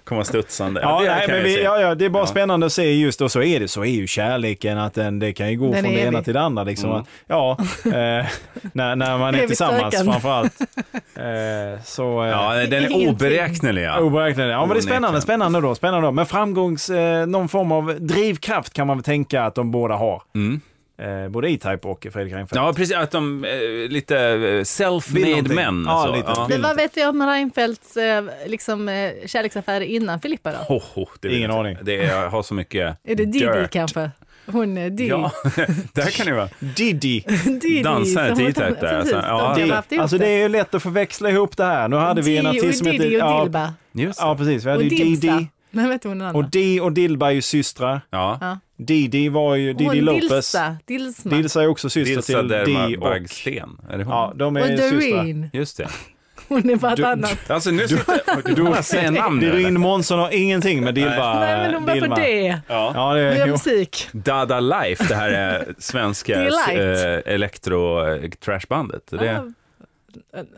[SPEAKER 1] Komma studsande.
[SPEAKER 3] Ja,
[SPEAKER 1] det
[SPEAKER 3] nej,
[SPEAKER 1] kan
[SPEAKER 3] men
[SPEAKER 1] jag
[SPEAKER 3] vi,
[SPEAKER 1] se.
[SPEAKER 3] ja, ja, det är bara
[SPEAKER 1] Ja.
[SPEAKER 3] spännande att se just och så är det, så är ju kärleken att den, det kan ju gå
[SPEAKER 2] Den
[SPEAKER 3] från
[SPEAKER 2] är
[SPEAKER 3] det ena
[SPEAKER 2] evig.
[SPEAKER 3] till det andra liksom.
[SPEAKER 1] Mm.
[SPEAKER 3] Att, ja, eh, när, när man är
[SPEAKER 2] Evigt
[SPEAKER 3] tillsammans
[SPEAKER 2] sökande.
[SPEAKER 3] framförallt. Eh, så, eh,
[SPEAKER 1] Ja, den är
[SPEAKER 2] Ingenting.
[SPEAKER 1] oberäknelig. Ja.
[SPEAKER 3] Oberäknelig. Ja, men det är spännande,
[SPEAKER 1] Onekligen.
[SPEAKER 3] spännande då, spännande då. Men framgångs, eh, någon form av drivkraft kan man väl tänka att de båda har.
[SPEAKER 1] Mm.
[SPEAKER 3] Eh, både E-Type och Fredrik Reinfeldt.
[SPEAKER 1] ja, precis. Att de eh, lite eh,
[SPEAKER 3] Vill
[SPEAKER 1] self-made
[SPEAKER 3] någonting.
[SPEAKER 1] män.
[SPEAKER 3] Ja,
[SPEAKER 1] så.
[SPEAKER 3] lite.
[SPEAKER 1] Ja.
[SPEAKER 2] Men
[SPEAKER 3] Vill
[SPEAKER 2] vad
[SPEAKER 3] inte.
[SPEAKER 2] vet jag om Reinfeldts eh, liksom, eh, kärleksaffärer innan Filippa då?
[SPEAKER 1] Ho, ho, det vet
[SPEAKER 3] Ingen
[SPEAKER 1] jag.
[SPEAKER 3] aning.
[SPEAKER 1] Det är, jag har så mycket
[SPEAKER 2] Är det Didi
[SPEAKER 1] dirt.
[SPEAKER 2] kanske? Hon är Didi.
[SPEAKER 1] Ja, där kan det vara.
[SPEAKER 3] Diddy.
[SPEAKER 2] Didi.
[SPEAKER 1] Dansare,
[SPEAKER 2] som hon-
[SPEAKER 1] T-Type där,
[SPEAKER 2] Precis,
[SPEAKER 1] så-
[SPEAKER 2] de
[SPEAKER 1] ja.
[SPEAKER 2] kan
[SPEAKER 1] Didi.
[SPEAKER 2] ha haft ihop
[SPEAKER 3] Alltså det
[SPEAKER 2] det.
[SPEAKER 3] är ju lätt att förväxla ihop det här. Nu hade vi en
[SPEAKER 2] Didi och
[SPEAKER 3] artist som hette...
[SPEAKER 2] Didi och
[SPEAKER 3] ja,
[SPEAKER 2] Dilba.
[SPEAKER 1] Just
[SPEAKER 3] ja,
[SPEAKER 1] det.
[SPEAKER 3] precis. Vi hade
[SPEAKER 2] och
[SPEAKER 3] ju
[SPEAKER 2] Dimsa.
[SPEAKER 3] Diddy.
[SPEAKER 2] Men vet du hon den andra?
[SPEAKER 3] Och Di och Dilba är ju systrar.
[SPEAKER 1] Ja.
[SPEAKER 3] Didi var ju
[SPEAKER 2] Hon
[SPEAKER 3] Didi Lopez.
[SPEAKER 2] Dilsa. Dilsma.
[SPEAKER 3] Dilsa är också syster
[SPEAKER 1] Dilsa
[SPEAKER 3] till Di
[SPEAKER 1] Derma
[SPEAKER 3] och...
[SPEAKER 1] Baggsten. Är det hon?
[SPEAKER 3] Ja, de
[SPEAKER 2] och
[SPEAKER 3] är systrar.
[SPEAKER 2] Doreen.
[SPEAKER 1] Just det.
[SPEAKER 2] Hon är bara ett
[SPEAKER 3] Du-
[SPEAKER 2] annat.
[SPEAKER 1] Alltså nu sitter... Du, du säger namn nu, eller?
[SPEAKER 3] Doreen Månsson har ingenting med
[SPEAKER 1] Ah,
[SPEAKER 3] Dilba.
[SPEAKER 2] Nej men hon bara för
[SPEAKER 3] Dilma.
[SPEAKER 2] det.
[SPEAKER 1] Ja.
[SPEAKER 3] Ja, det
[SPEAKER 2] Vi
[SPEAKER 3] är,
[SPEAKER 2] gör
[SPEAKER 3] jo.
[SPEAKER 2] musik.
[SPEAKER 1] Dada Life, det här är svenska
[SPEAKER 2] Delight.
[SPEAKER 1] eh, elektro-trashbandet. Det, nej,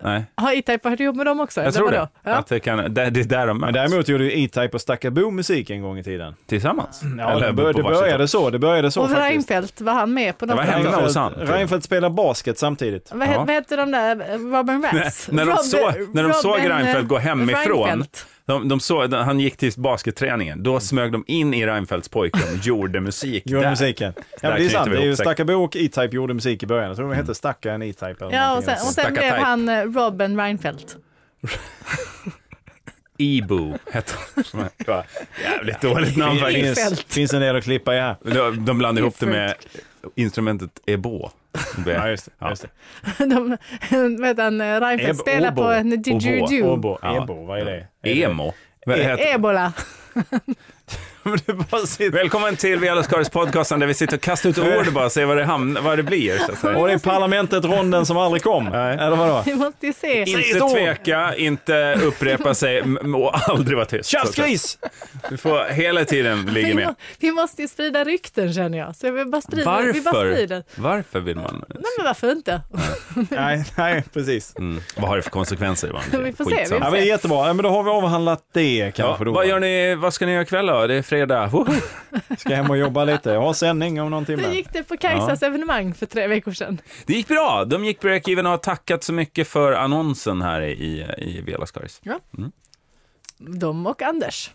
[SPEAKER 2] Ah, Har E-Type varit ihop med dem också?
[SPEAKER 1] jag tror det.
[SPEAKER 2] vadå? Ja.
[SPEAKER 1] Att det, kan, det, det är där de möts.
[SPEAKER 3] Men däremot gjorde ju E-Type och Stakabo musik en gång i tiden.
[SPEAKER 1] Tillsammans?
[SPEAKER 3] Ja,
[SPEAKER 1] Eller
[SPEAKER 3] det, bör,
[SPEAKER 1] på
[SPEAKER 3] det
[SPEAKER 1] varsitt
[SPEAKER 3] började så. Det började så
[SPEAKER 2] Och
[SPEAKER 3] faktiskt.
[SPEAKER 2] Reinfeldt, var han med på
[SPEAKER 1] Det
[SPEAKER 2] något?
[SPEAKER 1] var hemma
[SPEAKER 2] program?
[SPEAKER 1] hemma.
[SPEAKER 3] Reinfeldt,
[SPEAKER 1] Reinfeldt.
[SPEAKER 3] Reinfeldt spelar basket samtidigt.
[SPEAKER 2] Vad,
[SPEAKER 1] Ja.
[SPEAKER 2] he- vad heter de där, Robin Rats?
[SPEAKER 1] När de,
[SPEAKER 2] Robin-
[SPEAKER 1] såg, när de såg
[SPEAKER 2] Robin, eh,
[SPEAKER 1] Reinfeldt gå hemifrån,
[SPEAKER 2] Reinfeldt.
[SPEAKER 1] de, de såg, han gick till basketträningen, då smög de in i Reinfeldts pojkrum och gjorde musik
[SPEAKER 3] Gjorde
[SPEAKER 1] där.
[SPEAKER 3] musiken. Ja,
[SPEAKER 1] Där
[SPEAKER 3] men det är
[SPEAKER 1] knyter
[SPEAKER 3] sant.
[SPEAKER 1] vi
[SPEAKER 3] Det är ju
[SPEAKER 1] ihop säkert.
[SPEAKER 3] Stakabo och E-Type gjorde musik i början. Jag tror de hette Stacka en E-Type eller
[SPEAKER 2] Ja, och
[SPEAKER 3] någonting
[SPEAKER 2] sen, och sen
[SPEAKER 1] Stackartype.
[SPEAKER 2] blev han eh, Robin Reinfeldt.
[SPEAKER 1] Ibo hette han. Det var Jävligt dåligt namn
[SPEAKER 3] Det
[SPEAKER 1] faktiskt.
[SPEAKER 3] finns,
[SPEAKER 2] Reinfeldt.
[SPEAKER 3] finns en del att klippa i här.
[SPEAKER 1] De- De blandade ihop det med instrumentet ebo.
[SPEAKER 3] Ja, just det. Just det.
[SPEAKER 2] De, vad heter han, eh,
[SPEAKER 3] Ebo-
[SPEAKER 2] Reinfeldt spelar på
[SPEAKER 3] Obo.
[SPEAKER 2] en didgeridoo.
[SPEAKER 3] Åbo,
[SPEAKER 1] Ja.
[SPEAKER 3] Ebo, vad är det? E-
[SPEAKER 1] Emo. Vad heter-
[SPEAKER 2] Ebola.
[SPEAKER 3] det bara sitter-
[SPEAKER 1] Välkommen till Vela Skaris podcasten där vi sitter och kastar ut ord och bara ser vad det, hamnar, vad det blir. Så att säga.
[SPEAKER 3] Och det är parlamentet, ronden som aldrig kom. Eller vadå?
[SPEAKER 2] Vi måste ju se.
[SPEAKER 1] Inte
[SPEAKER 3] ett ord.
[SPEAKER 1] tveka, inte upprepa sig m- och aldrig vara tyst. Så att säga.
[SPEAKER 3] Tjafsgris!
[SPEAKER 1] Du får hela tiden ligga
[SPEAKER 2] Vi,
[SPEAKER 1] med.
[SPEAKER 2] må, vi måste ju sprida rykten känner jag. Så vi bara sprider. Vi bara
[SPEAKER 1] Varför?
[SPEAKER 2] sprider.
[SPEAKER 1] Varför vill man?
[SPEAKER 2] Nej men varför inte?
[SPEAKER 3] Nej, nej, precis.
[SPEAKER 1] Mm. Vad har det för konsekvenser? Man?
[SPEAKER 2] Vi får se,
[SPEAKER 1] Skitsamma.
[SPEAKER 2] vi
[SPEAKER 3] Ja, men det är jättebra. Ja, men då har vi avhandlat det
[SPEAKER 1] Ja,
[SPEAKER 3] kanske. då.
[SPEAKER 1] vad, gör ni, vad ska ni göra ikväll då? Det är fredag. Woho!
[SPEAKER 3] Ska hem och jobba lite. Jag har sändning om någon
[SPEAKER 2] Hur
[SPEAKER 3] timme.
[SPEAKER 2] gick det på Kajsas evenemang för tre veckor sedan?
[SPEAKER 1] Det gick bra. De gick break-even och har tackat så mycket för annonsen här i, i Vela Skaris.
[SPEAKER 2] De och Anders.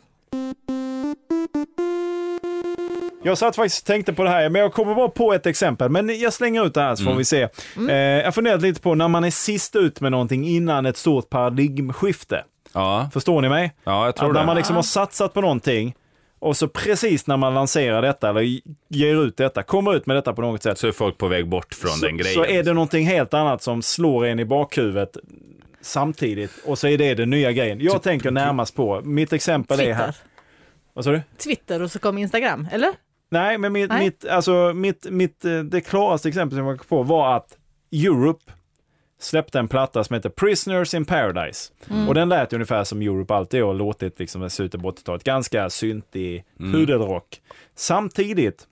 [SPEAKER 3] Jag satt faktiskt och tänkte på det här, men jag kommer bara på ett exempel. Men jag slänger ut det här så får vi se. Eh, jag funderade lite på när man är sist ut med någonting innan ett stort paradigmskifte.
[SPEAKER 1] Ja,
[SPEAKER 3] Förstår ni mig?
[SPEAKER 1] ja jag tror
[SPEAKER 3] Att när
[SPEAKER 1] det.
[SPEAKER 3] man liksom har satsat på någonting och så precis när man lanserar detta eller ger ut detta, kommer ut med detta på något sätt,
[SPEAKER 1] Så är folk på väg bort från den grejen.
[SPEAKER 3] så är det någonting helt annat som slår en i bakhuvudet samtidigt och så är det den nya grejen. Jag tänker närmast på, mitt exempel är här.
[SPEAKER 2] Twitter.
[SPEAKER 3] Vad sa du?
[SPEAKER 2] Twitter och så kom Instagram, eller?
[SPEAKER 3] Nej, men mitt,
[SPEAKER 2] Nej.
[SPEAKER 3] Mitt, alltså, mitt, mitt, eh, det klaraste exempel som jag kom på var att Europe släppte en platta som heter Prisoners in Paradise.
[SPEAKER 2] Mm.
[SPEAKER 3] Och den lät ungefär som Europe alltid har låtit liksom, se ut på 80-talet. Ganska syntig pudelrock. Samtidigt,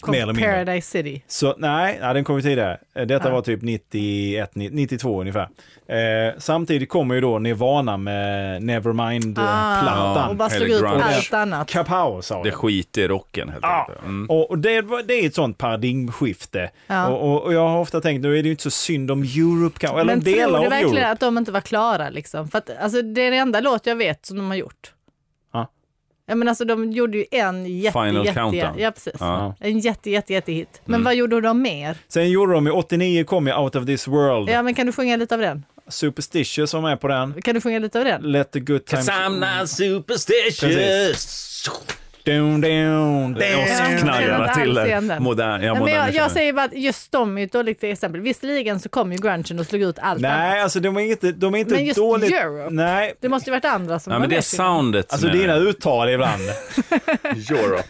[SPEAKER 2] Kom
[SPEAKER 3] Mer eller mindre.
[SPEAKER 2] Paradise City.
[SPEAKER 3] så nej, nej den kom ju tidigare. Eh, Detta
[SPEAKER 2] Ja.
[SPEAKER 3] var typ 91, 92 ungefär. Eh, samtidigt kommer ju då Nirvana med
[SPEAKER 1] plattan.
[SPEAKER 2] Ah. och
[SPEAKER 3] Nevermind-plattan.
[SPEAKER 2] bara slog ut
[SPEAKER 1] Grunge.
[SPEAKER 2] allt annat.
[SPEAKER 3] Kapow sa
[SPEAKER 1] Det
[SPEAKER 3] jag.
[SPEAKER 1] skiter i rocken helt
[SPEAKER 3] Ja.
[SPEAKER 1] enkelt. Mm.
[SPEAKER 3] Och och det, var- det är ett sånt paradigmskifte.
[SPEAKER 2] Ja.
[SPEAKER 3] Och, och, och jag har ofta tänkt, nu är det ju inte så synd om Europe kanske, eller
[SPEAKER 2] Men
[SPEAKER 3] delar
[SPEAKER 2] tror du
[SPEAKER 3] av
[SPEAKER 2] verkligen
[SPEAKER 3] Europe.
[SPEAKER 2] att de inte var klara liksom? För att, alltså, det är den enda låt jag vet som de har gjort.
[SPEAKER 3] Ja.
[SPEAKER 2] Ja, men alltså, de gjorde ju en jätte,
[SPEAKER 1] Final
[SPEAKER 2] jätte,
[SPEAKER 1] Countdown.
[SPEAKER 2] Ja, precis.
[SPEAKER 1] Ja.
[SPEAKER 2] En jätte, jätte, jättehit.
[SPEAKER 3] Mm.
[SPEAKER 2] Men vad gjorde de mer?
[SPEAKER 3] Sen gjorde de ju, 89 kom ju Out of this world,
[SPEAKER 2] Ja, men kan du sjunga lite av den?
[SPEAKER 3] Superstitious som är på den.
[SPEAKER 2] Kan du sjunga lite av den?
[SPEAKER 3] Let the good times...
[SPEAKER 1] superstitious.
[SPEAKER 3] Down, down,
[SPEAKER 1] Och
[SPEAKER 3] down.
[SPEAKER 1] så knallar
[SPEAKER 2] Jag
[SPEAKER 1] jag
[SPEAKER 2] känner
[SPEAKER 1] till
[SPEAKER 2] inte alls igen
[SPEAKER 1] det.
[SPEAKER 2] den.
[SPEAKER 1] modern. Ja,
[SPEAKER 2] Nej, men
[SPEAKER 1] modern
[SPEAKER 2] jag, jag
[SPEAKER 1] känner.
[SPEAKER 2] säger bara att just de är ett dåligt exempel. Visserligen så kom ju grungen och slog ut allt annat.
[SPEAKER 3] Nej, alltså de är inte, de är inte
[SPEAKER 2] Men just
[SPEAKER 3] dåligt...
[SPEAKER 2] Europe?
[SPEAKER 3] Nej.
[SPEAKER 2] Det måste ju varit andra som
[SPEAKER 1] Ja,
[SPEAKER 2] var
[SPEAKER 1] men det är
[SPEAKER 2] med.
[SPEAKER 1] soundet
[SPEAKER 3] Alltså
[SPEAKER 1] som är
[SPEAKER 3] dina uttal ibland.
[SPEAKER 1] Europe.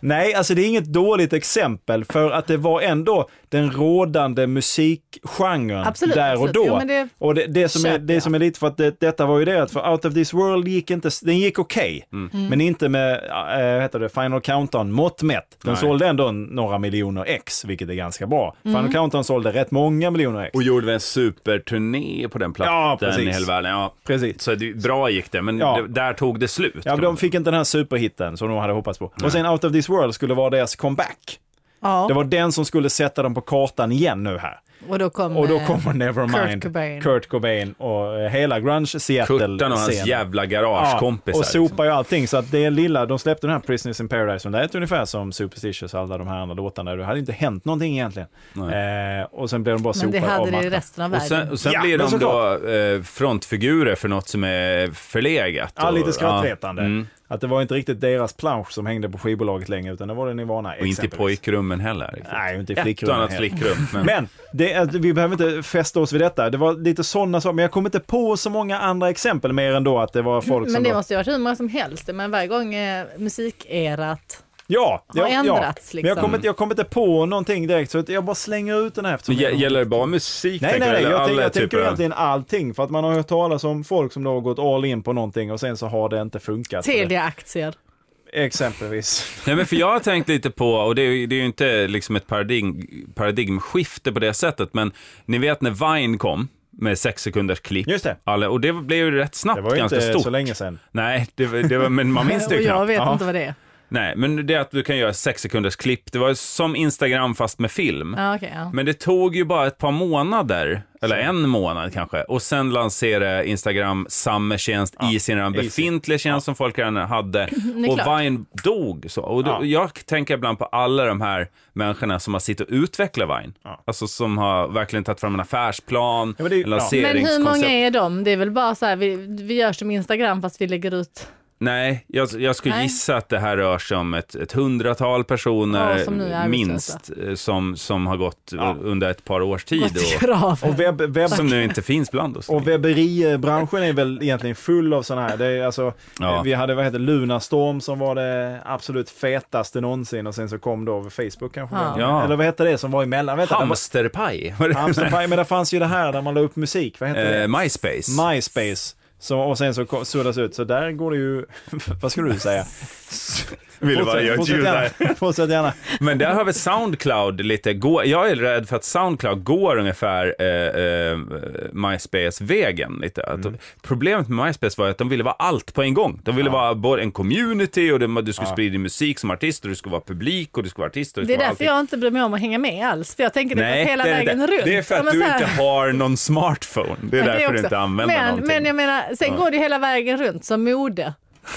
[SPEAKER 3] Nej, alltså det är inget dåligt exempel för att det var ändå, den rådande musikgenren
[SPEAKER 2] Absolut,
[SPEAKER 3] där och
[SPEAKER 2] absolut.
[SPEAKER 3] då.
[SPEAKER 2] Jo, men det
[SPEAKER 3] och det, det, som är,
[SPEAKER 2] köper
[SPEAKER 3] det
[SPEAKER 2] jag.
[SPEAKER 3] som är lite för att det, detta var ju det att för Out of this world gick inte, den gick okej,
[SPEAKER 1] Mm.
[SPEAKER 2] Mm.
[SPEAKER 3] men inte med, äh, vad heter det, Final Countdown mått mätt. Den
[SPEAKER 1] Nej.
[SPEAKER 3] sålde ändå några miljoner ex, vilket är ganska bra.
[SPEAKER 2] Mm.
[SPEAKER 3] Final Countdown sålde rätt många miljoner ex.
[SPEAKER 1] Och gjorde en superturné på den
[SPEAKER 3] Ja,
[SPEAKER 1] plattan
[SPEAKER 3] precis.
[SPEAKER 1] i hela världen. Ja.
[SPEAKER 3] Precis.
[SPEAKER 1] Så det, bra gick det, men
[SPEAKER 3] Ja.
[SPEAKER 1] det, där tog det slut.
[SPEAKER 3] Ja,
[SPEAKER 1] kan man
[SPEAKER 3] de fick inte den här superhitten som de hade hoppats på. Och sen Out of this world skulle vara deras comeback.
[SPEAKER 2] Ja,
[SPEAKER 3] Det var den som skulle sätta dem på kartan igen nu här.
[SPEAKER 2] och då kom...
[SPEAKER 3] Och då
[SPEAKER 2] eh,
[SPEAKER 3] kommer Nevermind,
[SPEAKER 2] Kurt Cobain.
[SPEAKER 3] Kurt Cobain och eh, hela grunge-Seattle-scenen.
[SPEAKER 1] Kurtan och hans jävla garagekompisar.
[SPEAKER 3] och
[SPEAKER 1] liksom.
[SPEAKER 3] sopar ju allting. Så att det lilla, de släppte den här Prisoners in Paradise som lät ungefär som Superstitious och alla de här andra låtarna. Det hade inte hänt någonting egentligen. Eh, och sen blev de bara
[SPEAKER 2] Men det
[SPEAKER 3] sopade
[SPEAKER 2] hade
[SPEAKER 3] av
[SPEAKER 2] det i
[SPEAKER 3] mattan.
[SPEAKER 2] resten av
[SPEAKER 1] Och
[SPEAKER 2] världen.
[SPEAKER 1] sen, och sen
[SPEAKER 3] Ja,
[SPEAKER 1] blir
[SPEAKER 3] men
[SPEAKER 1] de då eh, frontfigurer för något som är förlegat.
[SPEAKER 3] Ja, lite
[SPEAKER 1] och-
[SPEAKER 3] skrattretande. Att det var inte riktigt deras plansch som hängde på skivbolaget längre, utan det var det Nirvana.
[SPEAKER 1] Och inte i
[SPEAKER 3] exempelvis.
[SPEAKER 1] pojkrummen heller. riktigt.
[SPEAKER 3] Nej, inte i
[SPEAKER 1] Ett
[SPEAKER 3] flickrum.
[SPEAKER 1] och annat flickrum. Men,
[SPEAKER 3] Men det, är- vi behöver inte fästa oss vid detta. Det var lite sådana saker, men jag kommer inte på så många andra exempel mer än då att det var folk
[SPEAKER 2] Mm, Men
[SPEAKER 3] som...
[SPEAKER 2] det
[SPEAKER 3] då,
[SPEAKER 2] måste ju ha varit hur många som helst. Men varje gång eh, musikerat.
[SPEAKER 3] ja,
[SPEAKER 2] har
[SPEAKER 3] ja,
[SPEAKER 2] ändrats,
[SPEAKER 3] ja.
[SPEAKER 2] liksom.
[SPEAKER 3] Men jag kommer, inte- jag kommer inte på någonting direkt, så att jag bara slänger ut den här. eftersom
[SPEAKER 1] men gä-
[SPEAKER 3] jag-
[SPEAKER 1] gäller det bara musik?
[SPEAKER 3] Nej,
[SPEAKER 1] tänker
[SPEAKER 3] nej,
[SPEAKER 1] du,
[SPEAKER 3] nej.
[SPEAKER 1] eller
[SPEAKER 3] Jag,
[SPEAKER 1] alla
[SPEAKER 3] tänker- jag
[SPEAKER 1] typer
[SPEAKER 3] tänker
[SPEAKER 1] av-
[SPEAKER 3] egentligen allting. För att man har hört talas om folk som då har gått all in på någonting och sen så har det inte funkat.
[SPEAKER 2] Telia-aktier.
[SPEAKER 3] Exempelvis.
[SPEAKER 1] Nej, men för jag har tänkt lite på, och det är, ju- det är ju inte liksom ett paradigm, paradigmskifte på det sättet, men ni vet när Vine kom med sex sekunders klipp.
[SPEAKER 3] Just det.
[SPEAKER 1] Alla, och det blev ju rätt snabbt
[SPEAKER 3] Det var ju
[SPEAKER 1] ganska
[SPEAKER 3] inte
[SPEAKER 1] stort.
[SPEAKER 3] så länge sedan.
[SPEAKER 1] Nej, det, var- det var, men man minns
[SPEAKER 2] Och
[SPEAKER 1] det ju
[SPEAKER 2] jag
[SPEAKER 1] knappt.
[SPEAKER 2] vet
[SPEAKER 3] Ja.
[SPEAKER 2] inte vad det är.
[SPEAKER 1] Nej, men det är att du kan göra sex sekunders klipp. Det var ju som Instagram fast med film.
[SPEAKER 2] Ja, okej, ja.
[SPEAKER 1] Men det tog ju bara ett par månader, eller en månad kanske, och sen lanserade Instagram samma tjänst i sin redan
[SPEAKER 3] easy.
[SPEAKER 1] befintliga tjänst som folk redan hade.
[SPEAKER 2] är
[SPEAKER 1] Och
[SPEAKER 2] klart.
[SPEAKER 1] Vine dog. Så. Och då,
[SPEAKER 3] Ja.
[SPEAKER 1] Jag tänker ibland på alla de här människorna som har suttit och utvecklat Vine.
[SPEAKER 3] Ja.
[SPEAKER 1] Alltså som har verkligen tagit fram en affärsplan,
[SPEAKER 3] Ja, men det är-
[SPEAKER 1] en
[SPEAKER 3] ja.
[SPEAKER 1] lanseringskoncept.
[SPEAKER 2] Men hur många är de? Det är väl bara så här, vi, vi gör som Instagram fast vi lägger ut
[SPEAKER 1] Nej, jag, jag skulle
[SPEAKER 2] Nej.
[SPEAKER 1] gissa att det här rör sig om ett, ett hundratal personer
[SPEAKER 2] Ja, som nu är arbetslösa.
[SPEAKER 1] minst eh, som, som har gått eh,
[SPEAKER 3] Ja.
[SPEAKER 1] under ett par års tid
[SPEAKER 2] något
[SPEAKER 1] och,
[SPEAKER 2] krav.
[SPEAKER 3] Och, webb, webb,
[SPEAKER 1] som nu inte finns bland oss.
[SPEAKER 3] och webberibranschen är väl egentligen full av sådana här. Det är alltså,
[SPEAKER 1] Ja.
[SPEAKER 3] Vi hade vad heter Lunarstorm som var det absolut fetaste någonsin och sen så kom då Facebook kanske.
[SPEAKER 2] Ja.
[SPEAKER 1] Ja.
[SPEAKER 3] Eller vad hette det som var emellan? Vet du?
[SPEAKER 1] Hamsterpaj? Var det-
[SPEAKER 3] Hamsterpaj, men det fanns ju det här där man la upp musik. Vad hette det?
[SPEAKER 1] Eh, MySpace.
[SPEAKER 3] MySpace. Så, och sen så ko- suddas ut, så där går det ju, vad skulle du säga?
[SPEAKER 1] Vill
[SPEAKER 3] Fortsätt-
[SPEAKER 1] bara göra ett
[SPEAKER 3] fortsätt
[SPEAKER 1] ljud där.
[SPEAKER 3] gärna. Fortsätt gärna.
[SPEAKER 1] Men där har vi Soundcloud lite. Gå, jag är rädd för att Soundcloud går ungefär eh, eh, MySpace-vägen lite. Att
[SPEAKER 3] Mm.
[SPEAKER 1] de, problemet med MySpace var att de ville vara allt på en gång. De ville vara både en community och de, du skulle sprida din musik som artist och du skulle vara publik och du skulle vara artist. Och du
[SPEAKER 2] Det är
[SPEAKER 1] skulle vara
[SPEAKER 2] därför jag inte bryr mig om att hänga med alls. För jag tänker det
[SPEAKER 1] Nej,
[SPEAKER 2] går hela
[SPEAKER 1] det är
[SPEAKER 2] vägen
[SPEAKER 1] det.
[SPEAKER 2] runt.
[SPEAKER 1] Det är för
[SPEAKER 2] Ja,
[SPEAKER 1] att
[SPEAKER 2] men
[SPEAKER 1] du
[SPEAKER 2] så här-
[SPEAKER 1] inte har någon smartphone. Det är
[SPEAKER 2] Ja, det
[SPEAKER 1] därför du
[SPEAKER 2] också.
[SPEAKER 1] inte använder
[SPEAKER 2] men,
[SPEAKER 1] någonting.
[SPEAKER 2] Men jag menar, sen går det ju hela vägen runt som mode.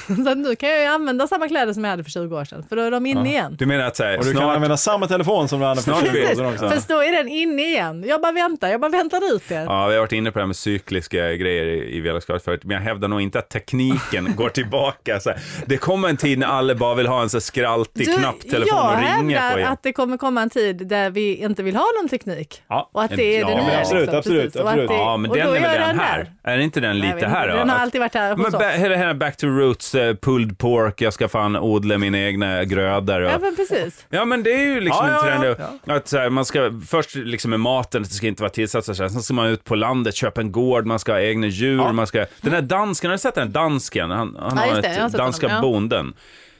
[SPEAKER 2] Så att nu kan jag ju använda samma kläder som jag hade för 20 år sedan. För då är de inne igen.
[SPEAKER 1] Du menar att så här,
[SPEAKER 3] Och du kan
[SPEAKER 1] snart-
[SPEAKER 3] använda samma telefon som du hade för
[SPEAKER 1] Snart
[SPEAKER 3] 20 år
[SPEAKER 1] vet-
[SPEAKER 2] Precis,
[SPEAKER 3] sedan också.
[SPEAKER 2] fast då är den inne igen. Jag bara väntar, jag bara väntar ut det.
[SPEAKER 1] Ja, vi har varit inne på det här med cykliska grejer i i Velaskaret förut, men jag hävdar nog inte att tekniken går tillbaka. Så här. Det kommer en tid när alla bara vill ha en så här skraltig knapptelefon
[SPEAKER 2] jag
[SPEAKER 1] och ringer på
[SPEAKER 2] hävdar
[SPEAKER 1] igen.
[SPEAKER 2] att det kommer komma en tid där vi inte vill ha någon teknik.
[SPEAKER 3] Ja.
[SPEAKER 2] Och att det är
[SPEAKER 1] Ja,
[SPEAKER 2] det
[SPEAKER 1] men
[SPEAKER 2] nya.
[SPEAKER 3] absolut,
[SPEAKER 2] liksom.
[SPEAKER 3] absolut,
[SPEAKER 2] Precis. Och att
[SPEAKER 3] absolut.
[SPEAKER 2] det-
[SPEAKER 1] Ja, men
[SPEAKER 2] och
[SPEAKER 1] den
[SPEAKER 2] då
[SPEAKER 1] är väl
[SPEAKER 2] jag
[SPEAKER 1] redan här? Är inte den
[SPEAKER 2] Jag vet
[SPEAKER 1] lite
[SPEAKER 2] inte,
[SPEAKER 1] här? då?
[SPEAKER 2] Den har
[SPEAKER 1] Att-
[SPEAKER 2] alltid varit här hos
[SPEAKER 1] men
[SPEAKER 2] oss.
[SPEAKER 1] ba- hela den här back to roots, eh, pulled pork, jag ska fan odla mina egna grödor. Och,
[SPEAKER 2] Ja, men precis.
[SPEAKER 1] Ja men det är ju liksom
[SPEAKER 3] Ja, ja,
[SPEAKER 1] en trend.
[SPEAKER 3] ja.
[SPEAKER 1] Att så här, man ska först liksom med maten, det ska inte vara tillsatser så här. Sen ska man ut på landet, köpa en gård, man ska ha egna djur, man ska... Den här dansken, har du sett den här dansken? Han, han
[SPEAKER 2] Ja,
[SPEAKER 1] har
[SPEAKER 2] just
[SPEAKER 1] ett
[SPEAKER 2] det, jag har sett
[SPEAKER 1] danska
[SPEAKER 2] honom, ja.
[SPEAKER 1] bonden.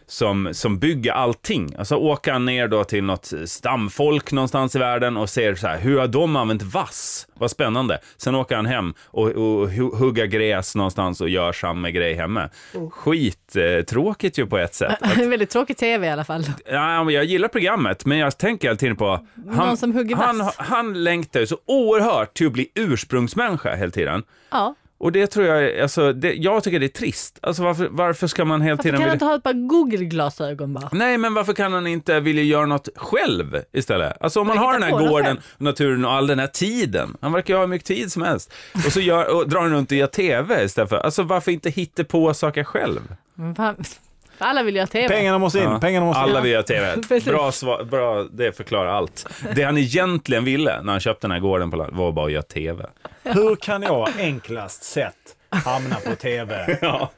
[SPEAKER 1] Som, som bygger allting. Alltså åker han ner då till något stamfolk någonstans i världen och ser så här, hur har de använt vass? Vad spännande. Sen åker han hem och, och hu- hugger gräs någonstans och gör samma grej hemma. Skittråkigt ju på ett sätt.
[SPEAKER 2] Det är väldigt tråkig tv i alla fall.
[SPEAKER 1] Ja, men jag gillar programmet, men jag tänker hela tiden på...
[SPEAKER 2] Någon som hugger
[SPEAKER 1] han,
[SPEAKER 2] vass.
[SPEAKER 1] han längtar ju så oerhört till att bli ursprungsmänniska hela tiden.
[SPEAKER 2] Ja.
[SPEAKER 1] Och det tror jag, är- alltså, det, jag tycker det är trist. Alltså varför, varför ska man hela
[SPEAKER 2] Varför
[SPEAKER 1] tiden...
[SPEAKER 2] kan
[SPEAKER 1] vilja-
[SPEAKER 2] du inte ha ett par Google-glasögon bara?
[SPEAKER 1] Nej, men varför kan han inte vilja göra något själv istället? Alltså om man
[SPEAKER 2] Men
[SPEAKER 1] har
[SPEAKER 2] hitta
[SPEAKER 1] den här
[SPEAKER 2] på något
[SPEAKER 1] gården,
[SPEAKER 2] själv.
[SPEAKER 1] naturen och all den här tiden. Han verkar ju ha hur mycket tid som helst. Och så gör, och drar han runt och gör TV istället för... Alltså varför inte hitta på saker själv?
[SPEAKER 2] Men fan, alla vill ju ha tv.
[SPEAKER 3] Pengarna måste in,
[SPEAKER 1] Ja.
[SPEAKER 3] pengarna måste in.
[SPEAKER 1] Alla vill göra TV.
[SPEAKER 2] Precis.
[SPEAKER 1] bra, svar, bra, det förklarar allt. Det han egentligen ville när han köpte den här gården på land var bara att göra TV.
[SPEAKER 3] Hur kan jag enklast sett
[SPEAKER 4] Hamna på TV.
[SPEAKER 1] Ja.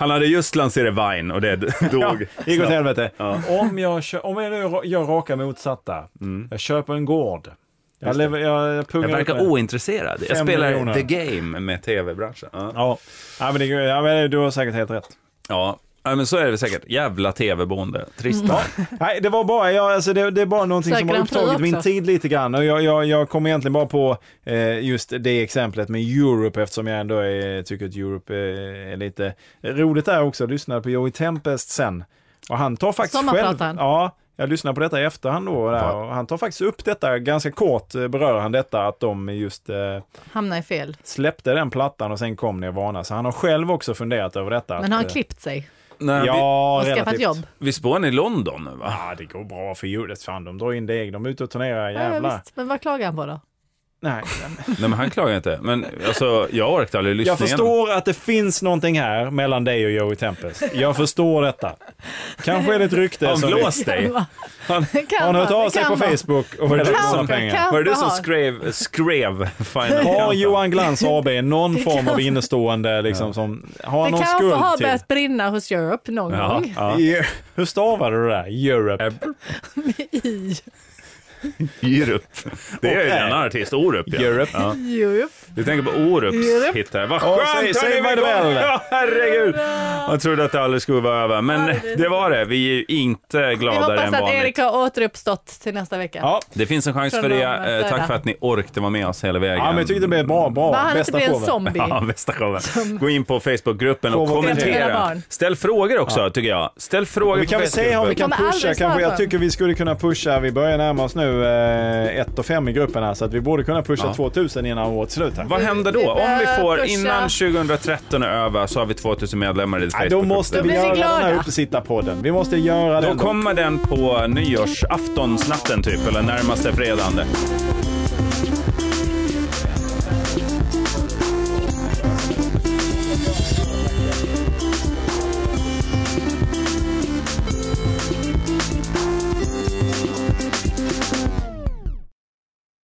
[SPEAKER 1] Han hade just lanserat Vine och det dog.
[SPEAKER 3] Gick åt helvete. Om, jag, kö- om jag nu ra- gör raka motsatta. Jag köper en gård. Jag, lever, jag, jag pungar
[SPEAKER 1] Jag
[SPEAKER 3] ut
[SPEAKER 1] verkar
[SPEAKER 3] med-
[SPEAKER 1] ointresserad. Jag
[SPEAKER 3] Fem
[SPEAKER 1] spelar
[SPEAKER 3] miljoner.
[SPEAKER 1] the game med tv-branschen. Ja,
[SPEAKER 3] Ja, ja, men det, ja men du har säkert helt rätt.
[SPEAKER 1] ja. Nej, men så är det säkert. Jävla tv-bonde. Trist.
[SPEAKER 3] Mm. Nej, det var bara, jag, alltså det, det är bara någonting
[SPEAKER 2] Söker
[SPEAKER 3] som har
[SPEAKER 2] han fru
[SPEAKER 3] upptagit min
[SPEAKER 2] också?
[SPEAKER 3] tid lite grann. Och jag, jag, jag kom egentligen bara på eh, just det exemplet med Europe eftersom jag ändå är, tycker att Europe eh, är lite roligt där också. Jag lyssnade på Joey Tempest sen och han tar faktiskt själv...
[SPEAKER 2] Sommarprataren.
[SPEAKER 3] Ja, jag lyssnar på detta i efterhand då. Där,
[SPEAKER 1] Va?
[SPEAKER 3] och han tar faktiskt upp detta, ganska kort eh, berör han detta att de just eh,
[SPEAKER 2] Hamnar i fel.
[SPEAKER 3] släppte den plattan och sen kom Nirvana. Så han har själv också funderat över detta.
[SPEAKER 2] Men har
[SPEAKER 3] att,
[SPEAKER 2] han
[SPEAKER 3] eh,
[SPEAKER 2] klippt sig
[SPEAKER 1] Nej,
[SPEAKER 3] Ja,
[SPEAKER 2] och
[SPEAKER 3] relativt.
[SPEAKER 2] skaffat jobb?
[SPEAKER 1] vi, visst bor han i London nu, va?
[SPEAKER 3] Ja, det går bra för hjulet. Fan, de drar in deg. De är ute och turnerar,
[SPEAKER 2] Ja,
[SPEAKER 3] jävlar.
[SPEAKER 2] visst. Men vad klagar han på då?
[SPEAKER 3] Nej.
[SPEAKER 1] Nej, men han klagar inte. Men alltså, jag orkade aldrig lyssna
[SPEAKER 3] Jag förstår att det finns någonting här mellan dig och Joey Tempest. Jag förstår detta. Kanske är det ett rykte.
[SPEAKER 1] igenom.
[SPEAKER 3] som
[SPEAKER 1] Han
[SPEAKER 3] vi-
[SPEAKER 1] blåst dig. Han,
[SPEAKER 2] Kan
[SPEAKER 3] Har han hört
[SPEAKER 2] vara,
[SPEAKER 3] av sig
[SPEAKER 2] kan
[SPEAKER 3] på
[SPEAKER 2] vara.
[SPEAKER 3] Facebook och velat
[SPEAKER 1] Kan
[SPEAKER 3] låna
[SPEAKER 1] vara.
[SPEAKER 3] pengar?
[SPEAKER 2] Kan
[SPEAKER 1] var det du
[SPEAKER 2] vara.
[SPEAKER 1] som skrev, skrev Final
[SPEAKER 3] Har
[SPEAKER 1] Countdown?
[SPEAKER 3] Johan Glans AB någon form av
[SPEAKER 2] kan-
[SPEAKER 3] innestående liksom som... Har han
[SPEAKER 2] Det
[SPEAKER 3] någon
[SPEAKER 2] kanske har
[SPEAKER 3] skuld till?
[SPEAKER 2] börjat brinna hos Europe någon
[SPEAKER 1] Ja,
[SPEAKER 2] gång.
[SPEAKER 1] ja.
[SPEAKER 3] Ja. Hur stavar du det där? Europe.
[SPEAKER 2] I
[SPEAKER 1] Orup. Det är ju
[SPEAKER 3] Och
[SPEAKER 1] en
[SPEAKER 3] är.
[SPEAKER 1] annan artist, Orup. Ja.
[SPEAKER 3] Europe.
[SPEAKER 1] Ja.
[SPEAKER 2] Europe.
[SPEAKER 1] Du tänker på Orups
[SPEAKER 2] Orup.
[SPEAKER 1] hit här. Vad
[SPEAKER 3] Ja,
[SPEAKER 1] skönt!
[SPEAKER 3] säg-
[SPEAKER 1] hörni,
[SPEAKER 3] säg
[SPEAKER 1] vi
[SPEAKER 3] vad det
[SPEAKER 1] kom.
[SPEAKER 3] väl.
[SPEAKER 1] Ja, herregud! Jag trodde att det aldrig skulle vara över, men det var det. Vi är ju inte
[SPEAKER 2] Vi
[SPEAKER 1] gladare än
[SPEAKER 2] hoppas att
[SPEAKER 1] vanligt.
[SPEAKER 2] Erik har återuppstått till nästa vecka.
[SPEAKER 3] Ja.
[SPEAKER 1] Det finns en chans
[SPEAKER 2] Från
[SPEAKER 1] för
[SPEAKER 2] Malmö,
[SPEAKER 1] det. Eh,
[SPEAKER 2] döda.
[SPEAKER 1] Tack för att ni orkade vara med oss hela vägen.
[SPEAKER 3] ja, men jag tyckte det blev bra.
[SPEAKER 2] Bara
[SPEAKER 3] bra.
[SPEAKER 2] han inte
[SPEAKER 3] Bästa
[SPEAKER 2] blir en
[SPEAKER 3] showen.
[SPEAKER 2] zombie.
[SPEAKER 1] Ja, bästa showen. Gå in på Facebookgruppen och
[SPEAKER 3] Fråga om
[SPEAKER 2] era
[SPEAKER 1] kommentera.
[SPEAKER 2] barn.
[SPEAKER 1] Ställ frågor också, tycker jag. Ställ frågor
[SPEAKER 3] Vi kan
[SPEAKER 1] på
[SPEAKER 3] väl säga om vi
[SPEAKER 1] Facebookgruppen.
[SPEAKER 3] kan
[SPEAKER 2] Vi kommer
[SPEAKER 3] pusha
[SPEAKER 2] aldrig svara
[SPEAKER 3] kanske.
[SPEAKER 2] på
[SPEAKER 3] Jag
[SPEAKER 2] den.
[SPEAKER 3] tycker vi skulle kunna pusha. Vi börjar närma oss nu 1 och 5 i gruppen här så att vi borde kunna pusha
[SPEAKER 1] Ja.
[SPEAKER 3] 2000 innan året slut här.
[SPEAKER 1] Vad händer då?
[SPEAKER 2] Vi
[SPEAKER 1] Om vi
[SPEAKER 2] behöver
[SPEAKER 1] får
[SPEAKER 2] pusha.
[SPEAKER 1] innan 2013 är över så har vi 2000 medlemmar i
[SPEAKER 3] Nej, då
[SPEAKER 1] Facebookgruppen.
[SPEAKER 3] måste vi
[SPEAKER 2] Då blir vi
[SPEAKER 3] göra den här
[SPEAKER 2] glada.
[SPEAKER 3] uppesittarpodden. Vi måste göra
[SPEAKER 1] Då
[SPEAKER 3] den.
[SPEAKER 1] kommer den på nyårsaftonsnatten typ, eller närmaste fredagen.